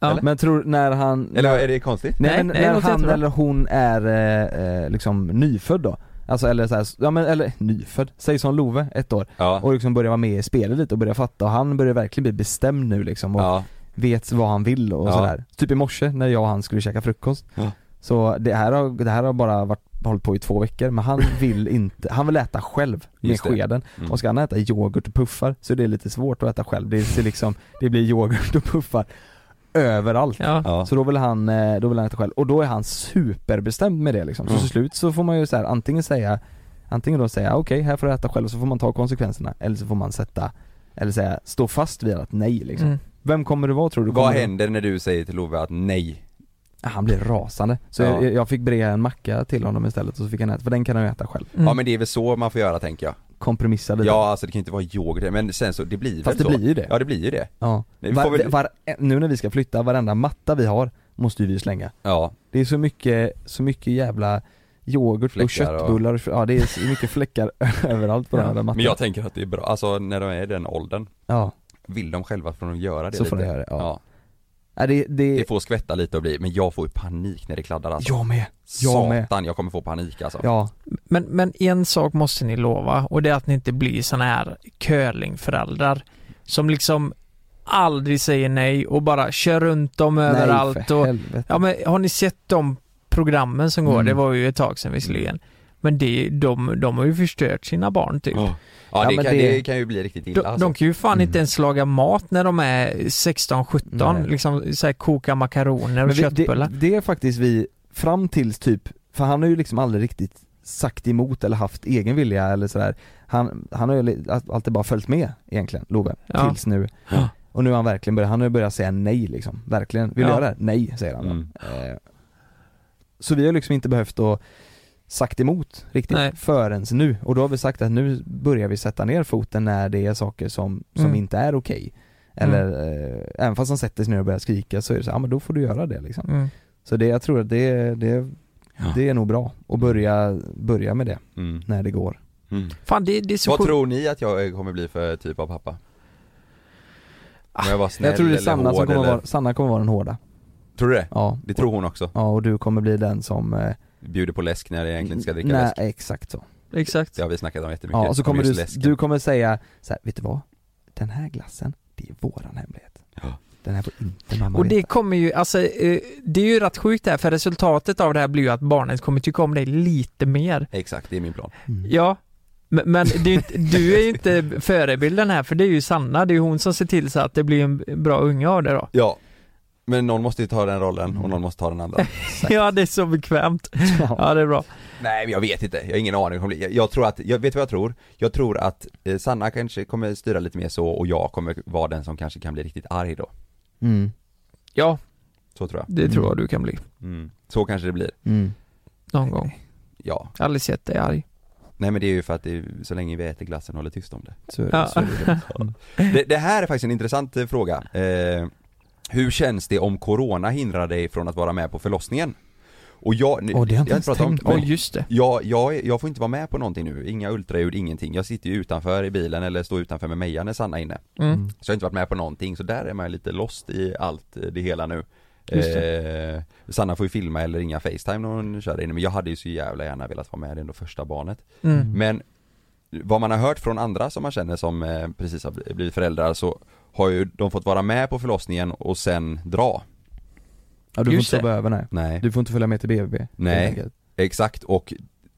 [SPEAKER 3] Ja.
[SPEAKER 2] Eller? Men tror när han...
[SPEAKER 1] Eller är det konstigt?
[SPEAKER 2] Nej,
[SPEAKER 3] Nej,
[SPEAKER 2] men
[SPEAKER 3] nej, det
[SPEAKER 2] när
[SPEAKER 3] låter
[SPEAKER 2] han
[SPEAKER 3] jättebra.
[SPEAKER 2] eller hon är eh, eh, liksom nyfödd då? Alltså eller så här, ja men eller nyfödd, säg som Love, ett år.
[SPEAKER 1] Ja.
[SPEAKER 2] Och liksom börjar vara med i spelet lite och börjar fatta och han börjar verkligen bli bestämd nu liksom och
[SPEAKER 1] Ja,
[SPEAKER 2] vet vad han vill och
[SPEAKER 1] Ja.
[SPEAKER 2] sådär. Typ i morse när jag och han skulle käka frukost.
[SPEAKER 1] Ja.
[SPEAKER 2] Så det här, har, det här har bara varit, hållit på i två veckor men han vill inte, han vill äta själv med
[SPEAKER 1] Just det.
[SPEAKER 2] skeden.
[SPEAKER 1] Mm.
[SPEAKER 2] Och ska han äta yoghurt och puffar så det är lite svårt att äta själv. Det, ser liksom, det blir yoghurt och puffar överallt.
[SPEAKER 3] Ja.
[SPEAKER 1] ja.
[SPEAKER 2] Så då vill han, eh, då vill han äta själv och då är han superbestämd med det liksom. Så
[SPEAKER 1] Mm.
[SPEAKER 2] till slut så får man ju så här, antingen säga Antingen då säga okej, här får du äta själv och så får man ta konsekvenserna eller så får man sätta Eller säga stå fast vid att nej liksom.
[SPEAKER 3] Mm.
[SPEAKER 2] Vem kommer det vara tror du?
[SPEAKER 1] Vad
[SPEAKER 2] Kommer det-
[SPEAKER 1] händer när du säger till Love att nej?
[SPEAKER 2] Ah, Han blir rasande. Så
[SPEAKER 1] Ja.
[SPEAKER 2] jag, jag fick bre en macka till honom istället och så fick han äta, för den kan han ju äta själv.
[SPEAKER 3] Mm.
[SPEAKER 1] Ja men det är väl så man får göra tänker jag.
[SPEAKER 2] Kompromissa lite.
[SPEAKER 1] Ja alltså det kan inte vara yoghurt, men sen så, det blir
[SPEAKER 2] Fast
[SPEAKER 1] väl
[SPEAKER 2] det
[SPEAKER 1] så.
[SPEAKER 2] blir ju det.
[SPEAKER 1] Ja det blir ju det.
[SPEAKER 2] Ja.
[SPEAKER 1] Nej, vi
[SPEAKER 2] Var,
[SPEAKER 1] får väl-
[SPEAKER 2] var, nu när vi ska flytta, varenda matta vi har måste vi ju slänga.
[SPEAKER 1] Ja,
[SPEAKER 2] Det är så mycket, så mycket jävla yoghurt och
[SPEAKER 1] Fläckar och-
[SPEAKER 2] köttbullar och, ja det är så mycket fläckar överallt på
[SPEAKER 3] Ja.
[SPEAKER 2] den här mattan.
[SPEAKER 1] men jag tänker att det är bra, alltså när de är i den åldern,
[SPEAKER 2] Ja,
[SPEAKER 1] vill de själva får de göra det
[SPEAKER 2] så
[SPEAKER 1] lite.
[SPEAKER 2] får det göra det. Ja.
[SPEAKER 1] Ja.
[SPEAKER 2] Ja. Det, det,
[SPEAKER 1] Det får skvätta lite och bli, men jag får ju panik när det kladdar alltså.
[SPEAKER 2] Jag med. jag med.
[SPEAKER 1] Satan, jag kommer få panik alltså.
[SPEAKER 2] Ja,
[SPEAKER 3] Men, men en sak måste ni lova och det är att ni inte blir såna här curlingföräldrar som liksom aldrig säger nej och bara kör runt dem
[SPEAKER 2] nej
[SPEAKER 3] överallt
[SPEAKER 2] för
[SPEAKER 3] och
[SPEAKER 2] helvete.
[SPEAKER 3] Ja men har ni sett de programmen som går?
[SPEAKER 2] Mm.
[SPEAKER 3] Det var ju ett tag sedan visserligen. Men det, de, de har ju förstört sina barn typ.
[SPEAKER 1] Ja,
[SPEAKER 2] Ja,
[SPEAKER 1] det,
[SPEAKER 2] men
[SPEAKER 1] kan,
[SPEAKER 2] det-
[SPEAKER 1] det... kan ju bli riktigt illa
[SPEAKER 3] De,
[SPEAKER 1] alltså.
[SPEAKER 3] de kan ju fan
[SPEAKER 2] Mm.
[SPEAKER 3] inte ens laga mat när de är 16-17,
[SPEAKER 2] Nej.
[SPEAKER 3] liksom så här, koka makaroner och
[SPEAKER 2] Men vi-
[SPEAKER 3] köttbullar.
[SPEAKER 2] Det, det är faktiskt vi, fram tills typ, för han har ju liksom aldrig riktigt sagt emot eller haft egen vilja eller sådär Han, han har ju li- all- alltid bara följt med egentligen, Love,
[SPEAKER 3] Ja.
[SPEAKER 2] tills nu
[SPEAKER 1] Ja.
[SPEAKER 2] Och nu har han verkligen börjat, han har ju börjat säga nej liksom, verkligen, vill du
[SPEAKER 3] Ja.
[SPEAKER 2] göra det? här? Nej, säger han då.
[SPEAKER 1] Mm.
[SPEAKER 2] eh, Så vi har liksom inte behövt att sagt emot riktigt
[SPEAKER 3] Nej.
[SPEAKER 2] förrän nu och då har vi sagt att nu börjar vi sätta ner foten när det är saker som, som
[SPEAKER 3] Mm.
[SPEAKER 2] inte är okej Eller, eh, även fast han sätter sig ner och börjar skrika så är det så, ja men då får du göra det liksom
[SPEAKER 3] Mm.
[SPEAKER 2] så det, jag tror att det, det,
[SPEAKER 1] Ja.
[SPEAKER 2] det är nog bra att börja, börja med det
[SPEAKER 1] Mm.
[SPEAKER 2] när det går.
[SPEAKER 1] Mm.
[SPEAKER 3] Fan det, det är så
[SPEAKER 1] Vad
[SPEAKER 3] sjukt.
[SPEAKER 1] tror ni att jag kommer bli för typ av pappa? Om jag var snäll
[SPEAKER 2] jag tror det är
[SPEAKER 1] eller
[SPEAKER 2] Sanna som
[SPEAKER 1] hård
[SPEAKER 2] kommer,
[SPEAKER 1] eller...
[SPEAKER 2] vara, Sanna kommer vara den hårda.
[SPEAKER 1] Tror du det?
[SPEAKER 2] Ja.
[SPEAKER 1] Det tror hon också.
[SPEAKER 2] Ja och du kommer bli den som... eh,
[SPEAKER 1] Bjuder på läsk när jag egentligen inte ska dricka
[SPEAKER 2] nej,
[SPEAKER 1] läsk.
[SPEAKER 2] exakt så.
[SPEAKER 3] Exakt.
[SPEAKER 1] Det har vi snackat om jättemycket.
[SPEAKER 2] Ja och så
[SPEAKER 1] om
[SPEAKER 2] kommer
[SPEAKER 1] just
[SPEAKER 2] du,
[SPEAKER 1] läsken.
[SPEAKER 2] du kommer säga så här, vet du vad? Den här glassen, det är våran hemlighet.
[SPEAKER 1] Ja.
[SPEAKER 2] Den här får inte mamma
[SPEAKER 3] Och det
[SPEAKER 2] veta.
[SPEAKER 3] kommer ju, alltså eh, det är ju rätt sjukt det här för resultatet av det här blir ju att barnet kommer tycka om dig lite mer.
[SPEAKER 1] Exakt, det är min plan.
[SPEAKER 2] Mm.
[SPEAKER 3] Ja, men, men det är ju inte, du är ju inte förebilden här för det är ju Sanna, det är ju hon som ser till så att det blir en bra unge av det då.
[SPEAKER 1] Ja, Men någon måste ju ta den rollen
[SPEAKER 2] Mm.
[SPEAKER 1] och någon måste ta den andra
[SPEAKER 3] Ja, det är så bekvämt. Ja, det är bra.
[SPEAKER 1] Nej men jag vet inte, jag har ingen aning om det. Jag, jag tror att, jag vet vad jag tror? Jag tror att eh, Sanna kanske kommer styra lite mer så och jag kommer vara den som kanske kan bli riktigt arg då.
[SPEAKER 2] Mm.
[SPEAKER 3] Ja,
[SPEAKER 1] Så tror jag.
[SPEAKER 3] det tror jag du kan bli.
[SPEAKER 1] Mm. Så kanske det blir.
[SPEAKER 2] Mm.
[SPEAKER 3] Någon gång.
[SPEAKER 1] Ja.
[SPEAKER 3] Jag har aldrig sett dig arg.
[SPEAKER 1] Nej men det är ju för att det, är- så länge vi äter glassen håller tyst om det.
[SPEAKER 2] Så, är det, alltså.
[SPEAKER 3] Ja.
[SPEAKER 2] så är det.
[SPEAKER 1] det. Det här är faktiskt en intressant eh, fråga. Eh, hur känns det om Corona hindrar dig från att vara med på förlossningen? Och jag, nu-
[SPEAKER 2] Åh, det har jag inte ens
[SPEAKER 1] pratat om-
[SPEAKER 2] tänkt på.
[SPEAKER 3] Åh,
[SPEAKER 1] men-
[SPEAKER 3] just det.
[SPEAKER 1] Jag, jag, jag får inte vara med på någonting nu, inga ultraljud, ingenting. Jag sitter ju utanför i bilen eller står utanför med Meja när Sanna är inne.
[SPEAKER 3] Mm.
[SPEAKER 1] Så jag har inte varit med på någonting, så där är man ju lite lost i allt eh, det hela nu.
[SPEAKER 2] Just
[SPEAKER 1] Eh, Sanna får ju filma eller ringa Facetime när hon kör in, men jag hade ju så jävla gärna velat vara med, det är ändå första barnet.
[SPEAKER 3] Mm.
[SPEAKER 1] Men vad man har hört från andra som man känner som eh, precis har bl- blivit föräldrar så har ju de fått vara med på förlossningen och sen dra.
[SPEAKER 2] Ja, du får
[SPEAKER 3] Just
[SPEAKER 2] inte
[SPEAKER 3] det.
[SPEAKER 2] sova över nej.
[SPEAKER 1] Nej.
[SPEAKER 2] Du får inte följa med till BB.
[SPEAKER 1] Nej. Exakt och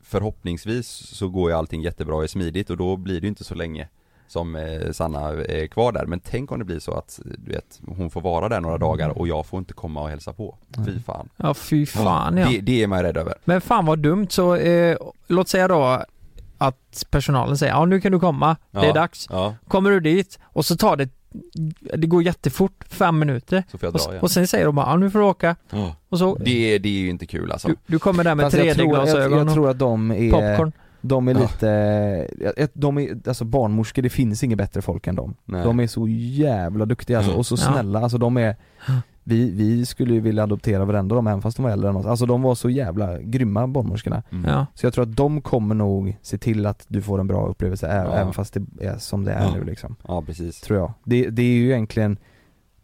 [SPEAKER 1] förhoppningsvis så går ju allting jättebra och är smidigt och då blir det ju inte så länge som eh, Sanna är kvar där men tänk om det blir så att du vet hon får vara där några dagar och jag får inte komma och hälsa på. Fy fan.
[SPEAKER 3] Ja, fy fan ja.
[SPEAKER 1] Det, det är man ju rädd över.
[SPEAKER 3] Men fan vad dumt. Så eh, låt säga då att personalen säger ja nu kan du komma, det
[SPEAKER 1] Ja.
[SPEAKER 3] är dags.
[SPEAKER 1] Ja,
[SPEAKER 3] Kommer du dit och så tar det, det går jättefort, fem minuter.
[SPEAKER 1] så får jag
[SPEAKER 3] Och,
[SPEAKER 1] dra igen.
[SPEAKER 3] och sen säger de bara ja nu får du åka.
[SPEAKER 1] Ja.
[SPEAKER 3] Och så,
[SPEAKER 1] Det, det är ju inte kul alltså.
[SPEAKER 3] du, du kommer där med
[SPEAKER 2] Fast jag, tror, jag,
[SPEAKER 3] 3D-glasögon
[SPEAKER 2] jag
[SPEAKER 3] och
[SPEAKER 2] tror att de är,
[SPEAKER 3] popcorn.
[SPEAKER 2] de är
[SPEAKER 1] Ja.
[SPEAKER 2] lite, jag- jag- de är, alltså barnmorskor, det finns inget bättre folk än dem.
[SPEAKER 1] Nej.
[SPEAKER 2] De är så jävla duktiga alltså,
[SPEAKER 1] Mm.
[SPEAKER 2] och så
[SPEAKER 3] Ja.
[SPEAKER 2] snälla, alltså de är vi, vi skulle ju vilja adoptera varenda dem även fast de var äldre än oss. Alltså de var så jävla grymma barnmorskorna.
[SPEAKER 1] Mm.
[SPEAKER 3] Ja.
[SPEAKER 2] Så jag tror att de kommer nog se till att du får en bra upplevelse ä-
[SPEAKER 1] Ja.
[SPEAKER 2] även fast det är som det är
[SPEAKER 1] Ja.
[SPEAKER 2] nu liksom.
[SPEAKER 1] ja, precis.
[SPEAKER 2] Tror jag. Det, det är ju egentligen,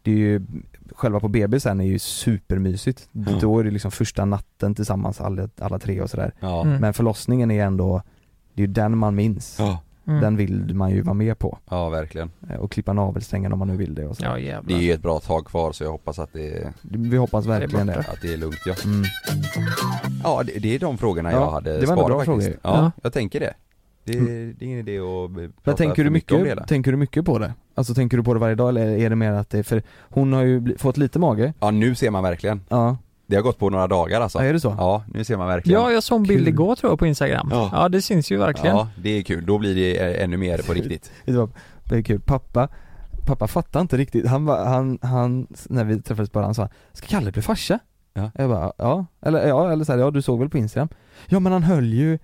[SPEAKER 2] det är ju, själva på BB sen är ju supermysigt.
[SPEAKER 1] Ja.
[SPEAKER 2] Då är det liksom första natten tillsammans alla, alla tre och sådär.
[SPEAKER 1] Ja.
[SPEAKER 3] Mm.
[SPEAKER 2] Men förlossningen är ändå, det är ju den man minns.
[SPEAKER 1] Ja.
[SPEAKER 3] Mm.
[SPEAKER 2] Den vill man ju vara med på.
[SPEAKER 1] ja, verkligen.
[SPEAKER 2] Eh, Och klippa navelsträngen om man nu vill det och så.
[SPEAKER 3] Ja
[SPEAKER 1] Det
[SPEAKER 3] jävlar.
[SPEAKER 1] är ju ett bra tag kvar så jag hoppas att det,
[SPEAKER 2] Vi hoppas verkligen
[SPEAKER 3] Det är
[SPEAKER 2] det.
[SPEAKER 1] att det är lugnt ja.
[SPEAKER 2] Mm.
[SPEAKER 1] Ja, det, det är de frågorna
[SPEAKER 2] Ja,
[SPEAKER 1] jag hade
[SPEAKER 2] det var ändå
[SPEAKER 1] sparat
[SPEAKER 2] bra
[SPEAKER 1] faktiskt.
[SPEAKER 2] frågor.
[SPEAKER 1] Ja,
[SPEAKER 3] Ja.
[SPEAKER 1] jag tänker det. Det, det är ingen idé att b- prata
[SPEAKER 2] Men tänker du,
[SPEAKER 1] för
[SPEAKER 2] mycket,
[SPEAKER 1] om det hela.
[SPEAKER 2] tänker du mycket på det? Alltså tänker du på det varje dag eller är det mer att det, för hon har ju bli, fått lite mage.
[SPEAKER 1] Ja, nu ser man verkligen.
[SPEAKER 2] Ja,
[SPEAKER 1] Det har gått på några dagar
[SPEAKER 2] ja
[SPEAKER 1] alltså.
[SPEAKER 2] är det så?
[SPEAKER 1] Ja, nu ser man verkligen.
[SPEAKER 3] Ja, jag såg en
[SPEAKER 2] Kul.
[SPEAKER 3] bild igår tror jag på Instagram.
[SPEAKER 1] Ja.
[SPEAKER 3] Ja, det syns ju verkligen.
[SPEAKER 1] Ja, det är kul. Då blir det eh, ännu mer på riktigt.
[SPEAKER 2] Vet du vad, Det är kul, pappa, pappa fattar inte riktigt, han bara, han, han, när vi träffades bara, han sa Ska Kalle bli farsa?
[SPEAKER 1] Ja.
[SPEAKER 2] Jag bara, ja, eller ja, eller så här, ja du såg väl på Instagram? Ja men han höll ju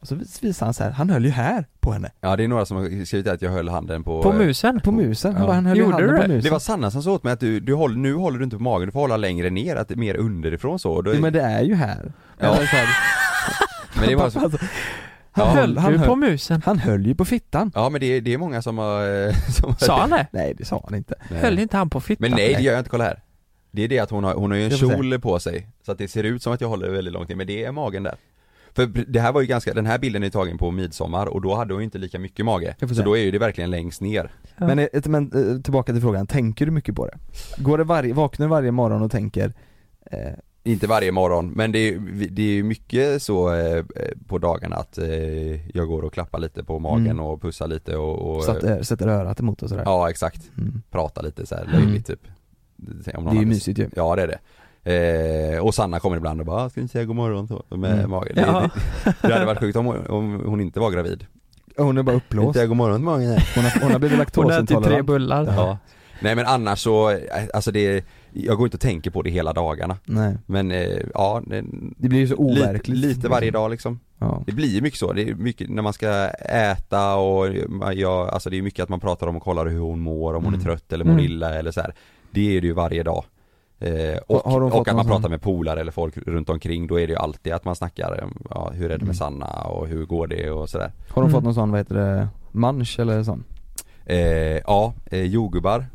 [SPEAKER 2] och så vis- visade han så här, han höll ju här på henne,
[SPEAKER 1] Ja, det är några som har skrivit att jag höll handen på...
[SPEAKER 3] På
[SPEAKER 1] eh,
[SPEAKER 3] musen.
[SPEAKER 2] på musen, han,
[SPEAKER 1] Ja.
[SPEAKER 2] bara, han höll ju
[SPEAKER 3] Gjorde
[SPEAKER 2] handen
[SPEAKER 3] du
[SPEAKER 2] på
[SPEAKER 3] det?
[SPEAKER 2] musen
[SPEAKER 1] Det var Sanna som sa åt mig att du, du håller, nu håller du inte på magen, du får hålla längre ner, att det är mer underifrån så. Och Då,
[SPEAKER 2] Jo men det är ju här
[SPEAKER 1] Ja.
[SPEAKER 2] Eller så här,
[SPEAKER 1] men det var så,
[SPEAKER 2] alltså, han,
[SPEAKER 1] Ja.
[SPEAKER 2] höll,
[SPEAKER 3] Höll
[SPEAKER 2] han,
[SPEAKER 3] du på
[SPEAKER 2] höll,
[SPEAKER 3] musen?
[SPEAKER 2] han höll ju på fittan
[SPEAKER 1] ja men det, det är många som har... eh, Som har
[SPEAKER 3] Sa han det?
[SPEAKER 2] Nej det sa han inte
[SPEAKER 1] Nej.
[SPEAKER 3] Höll inte han på
[SPEAKER 1] Men
[SPEAKER 3] fittan?
[SPEAKER 1] nej, det gör jag inte, kolla här. Det är det att hon har, hon har ju en
[SPEAKER 2] Jag får se.
[SPEAKER 1] kjol på sig, så att det ser ut som att jag håller väldigt långt ner, men det är magen där. För det här var ju ganska, den här bilden är tagen på midsommar och då hade hon ju inte lika mycket mage.
[SPEAKER 2] Jag får
[SPEAKER 1] Så
[SPEAKER 2] se.
[SPEAKER 1] då är ju det verkligen längst ner.
[SPEAKER 3] Ja.
[SPEAKER 2] Men, eh, men eh, tillbaka till frågan, tänker du mycket på det? Går det varje, vaknar du varje morgon och tänker eh,
[SPEAKER 1] Inte varje morgon, men det är, det är ju mycket så eh, på dagarna att eh, jag går och klappar lite på magen
[SPEAKER 2] Mm.
[SPEAKER 1] och pussar lite och, och
[SPEAKER 2] så att, eh, sätter örat emot och sådär?
[SPEAKER 1] ja exakt,
[SPEAKER 2] Mm.
[SPEAKER 1] pratar lite så här löjligt typ. Om
[SPEAKER 2] Det
[SPEAKER 1] någon
[SPEAKER 2] är ju
[SPEAKER 1] hade-
[SPEAKER 2] mysigt ju.
[SPEAKER 1] Ja det är det. Eh, och Sanna kommer ibland och bara, "Ah, ska du inte säga god morgon så, med
[SPEAKER 2] Mm.
[SPEAKER 1] magen. Det,
[SPEAKER 3] Ja.
[SPEAKER 1] det, det hade varit sjukt om, hon- om hon inte var gravid.
[SPEAKER 2] Hon är bara
[SPEAKER 1] Inte
[SPEAKER 2] uppblåst.
[SPEAKER 1] säga god morgon till magen.
[SPEAKER 2] Hon har, hon har blivit
[SPEAKER 3] Hon äter tre
[SPEAKER 2] laktosintolerant.
[SPEAKER 3] bullar.
[SPEAKER 1] Ja. Nej men annars så, eh, alltså det, jag går inte och tänker på det hela dagarna.
[SPEAKER 2] Nej.
[SPEAKER 1] Men eh, ja, det,
[SPEAKER 2] Det blir ju så
[SPEAKER 1] lite,
[SPEAKER 2] overkligt.
[SPEAKER 1] lite varje dag liksom.
[SPEAKER 2] Ja.
[SPEAKER 1] Det blir ju mycket så, det är mycket när man ska äta och man- jag, alltså det är mycket att man pratar om och kollar hur hon mår, om hon är
[SPEAKER 2] Mm.
[SPEAKER 1] trött eller mår
[SPEAKER 3] Mm.
[SPEAKER 1] illa eller så här. Det är det ju varje dag. Eh, och,
[SPEAKER 2] Har hon fått
[SPEAKER 1] och att
[SPEAKER 2] någon
[SPEAKER 1] man
[SPEAKER 2] sån-
[SPEAKER 1] pratar med polare eller folk runt omkring, då är det ju alltid att man snackar, eh, ja, hur är det
[SPEAKER 2] Mm.
[SPEAKER 1] med Sanna och hur går det och sådär.
[SPEAKER 2] Har hon fått
[SPEAKER 3] Mm.
[SPEAKER 2] någon sån, vad heter det, mansch eller sån?
[SPEAKER 1] Eh, ja, eh, jordgubbar,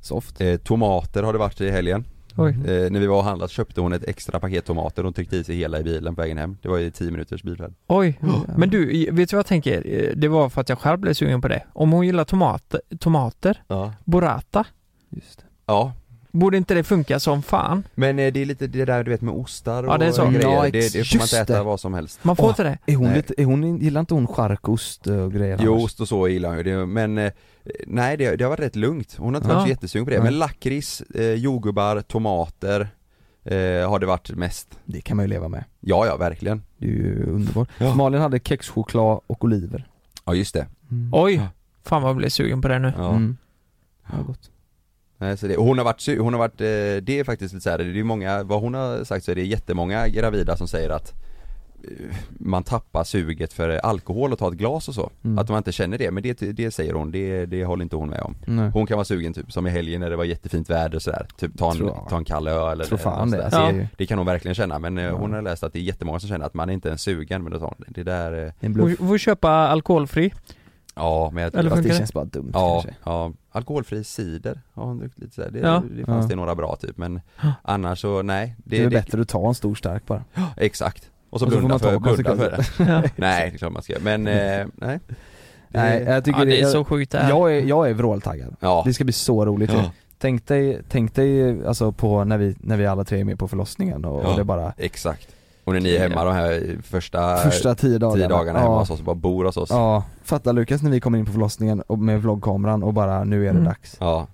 [SPEAKER 2] Soft. Mm.
[SPEAKER 1] eh, tomater har det varit i helgen.
[SPEAKER 3] Oj.
[SPEAKER 1] Eh, när vi var och handlat köpte hon ett extra paket tomater, hon tryckte i sig hela i bilen på vägen hem. Det var ju 10 minuters bilfärd.
[SPEAKER 3] Oj, men du, vet du vad jag tänker? Eh, Det var för att jag själv blev sugen på det. Om hon gillar tomater, tomater
[SPEAKER 1] Ja.
[SPEAKER 3] burrata,
[SPEAKER 2] Just det.
[SPEAKER 1] Ja,
[SPEAKER 3] Borde inte det funka som fan?
[SPEAKER 1] Men eh, det är lite det där du vet med ostar och
[SPEAKER 3] Ja, det är så.
[SPEAKER 1] grejer,
[SPEAKER 2] Ja,
[SPEAKER 1] det, det får man
[SPEAKER 2] just
[SPEAKER 1] inte äta
[SPEAKER 2] det.
[SPEAKER 1] vad som helst
[SPEAKER 3] Man får
[SPEAKER 2] Åh,
[SPEAKER 3] inte det.
[SPEAKER 2] Är hon
[SPEAKER 1] Nej.
[SPEAKER 2] lite, är hon, gillar inte hon charkost och grejer
[SPEAKER 1] Jo,
[SPEAKER 2] annars?
[SPEAKER 1] ost och så gillar hon ju, det, men eh, nej det, det har varit rätt lugnt. Hon har inte varit
[SPEAKER 3] Ja.
[SPEAKER 1] så jättesugen på det,
[SPEAKER 2] Nej.
[SPEAKER 1] men lakrits, eh, jordgubbar, tomater eh, har det varit mest.
[SPEAKER 2] Det kan man ju leva med.
[SPEAKER 1] Ja, ja verkligen.
[SPEAKER 2] Det är ju underbart.
[SPEAKER 1] Ja.
[SPEAKER 2] Malin hade kexchoklad och oliver.
[SPEAKER 1] Ja just det.
[SPEAKER 3] Oj! Fan vad jag blev sugen på det nu.
[SPEAKER 1] Ja.
[SPEAKER 2] Mm. Ja, gott.
[SPEAKER 1] Nej, så det, och hon har varit, su- hon har varit, eh, det är faktiskt lite så här, det är många, vad hon har sagt så är det jättemånga gravida som säger att eh, man tappar suget för alkohol och tar ett glas och så.
[SPEAKER 2] Mm.
[SPEAKER 1] Att man inte känner det, men det, det säger hon, det, det håller inte hon med om.
[SPEAKER 2] Nej.
[SPEAKER 1] Hon kan vara sugen typ som i helgen när det var jättefint väder och sådär, typ ta en,
[SPEAKER 2] Tror jag.
[SPEAKER 1] ta en kall öl eller
[SPEAKER 2] Tror fan
[SPEAKER 1] något
[SPEAKER 2] det.
[SPEAKER 1] sådär.
[SPEAKER 2] Ja.
[SPEAKER 1] Så det, det kan hon verkligen känna men eh,
[SPEAKER 2] Ja.
[SPEAKER 1] hon har läst att det är jättemånga som känner att man inte är sugen men då tar hon det. Det där, eh,
[SPEAKER 2] En
[SPEAKER 3] Får
[SPEAKER 2] bluff.
[SPEAKER 3] får köpa alkoholfri.
[SPEAKER 1] ja men jag
[SPEAKER 3] Eller
[SPEAKER 2] Fast
[SPEAKER 3] funkar
[SPEAKER 2] det
[SPEAKER 3] det?
[SPEAKER 2] känns bara dumt
[SPEAKER 1] Ja,
[SPEAKER 2] kanske.
[SPEAKER 1] ja, alkoholfri cider har hon druckit lite sådär. Det,
[SPEAKER 3] Ja.
[SPEAKER 1] det fanns
[SPEAKER 2] Ja.
[SPEAKER 1] det några bra typ men
[SPEAKER 3] Ja.
[SPEAKER 1] annars så nej.
[SPEAKER 2] Det är väl bättre att ta en stor stark bara.
[SPEAKER 1] Exakt. Och så
[SPEAKER 2] Och så får
[SPEAKER 1] blunda
[SPEAKER 2] man ta
[SPEAKER 1] för,
[SPEAKER 2] vad man
[SPEAKER 1] blunda
[SPEAKER 2] ska
[SPEAKER 1] för det.
[SPEAKER 3] Ja.
[SPEAKER 1] Nej, det är klart man ska Men eh, nej. Det-
[SPEAKER 2] Nej, jag tycker
[SPEAKER 3] Ja, det är
[SPEAKER 2] jag,
[SPEAKER 3] så sjukt det här.
[SPEAKER 2] jag är, jag är vråltaggad.
[SPEAKER 1] Ja.
[SPEAKER 2] Det ska bli så roligt
[SPEAKER 1] Ja.
[SPEAKER 2] Tänk dig, tänk dig alltså på när vi, när vi alla tre är med på förlossningen och,
[SPEAKER 1] Ja.
[SPEAKER 2] och det bara
[SPEAKER 1] Exakt. Och när ni är hemma de här första,
[SPEAKER 2] första tio dagarna
[SPEAKER 1] tio dagarna hemma
[SPEAKER 2] ja,
[SPEAKER 1] hos oss och bara bor hos oss.
[SPEAKER 2] ja, fatta Lukas när vi kommer in på förlossningen och med vloggkameran och bara nu är det
[SPEAKER 3] Mm.
[SPEAKER 2] dags
[SPEAKER 1] Ja.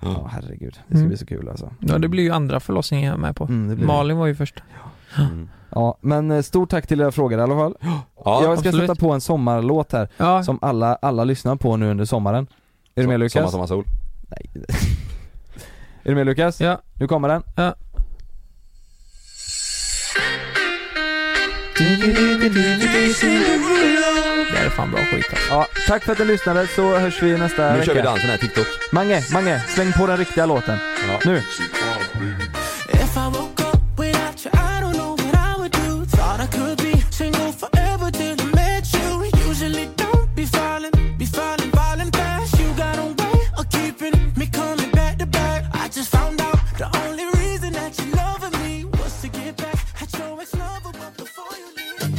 [SPEAKER 2] Ja herregud, det ska
[SPEAKER 3] Mm.
[SPEAKER 2] bli så kul alltså
[SPEAKER 3] Ja, det blir ju andra förlossningen jag är med på.
[SPEAKER 2] Mm, det blir det.
[SPEAKER 3] Malin var ju först.
[SPEAKER 1] Mm.
[SPEAKER 2] Ja men eh, stort tack till era frågor i alla fall
[SPEAKER 1] Ja,
[SPEAKER 2] Jag ska
[SPEAKER 3] absolut.
[SPEAKER 2] sätta på en sommarlåt här
[SPEAKER 3] Ja,
[SPEAKER 2] som alla, alla lyssnar på nu under sommaren Är du med Lukas?
[SPEAKER 1] Sommar, sommar, sol.
[SPEAKER 2] Nej Är du med Lukas?
[SPEAKER 3] ja,
[SPEAKER 2] Nu kommer den
[SPEAKER 3] ja. Det här är fan bra skit alltså.
[SPEAKER 2] Ja, tack för att ni lyssnade så hörs vi
[SPEAKER 1] Nu
[SPEAKER 2] nästa vecka
[SPEAKER 1] kör vi dansen här, TikTok.
[SPEAKER 2] Mange, Mange, släng på den riktiga låten
[SPEAKER 1] Ja.
[SPEAKER 2] Nu!
[SPEAKER 8] If I woke up without you, I don't know what I would do. Thought I could be single forever till I met you. Usually don't be falling, be falling, falling fast. You got a way of keeping me coming back to back. I just found out the only reason that you loving me was to get back at your ex-lover. But before you leave.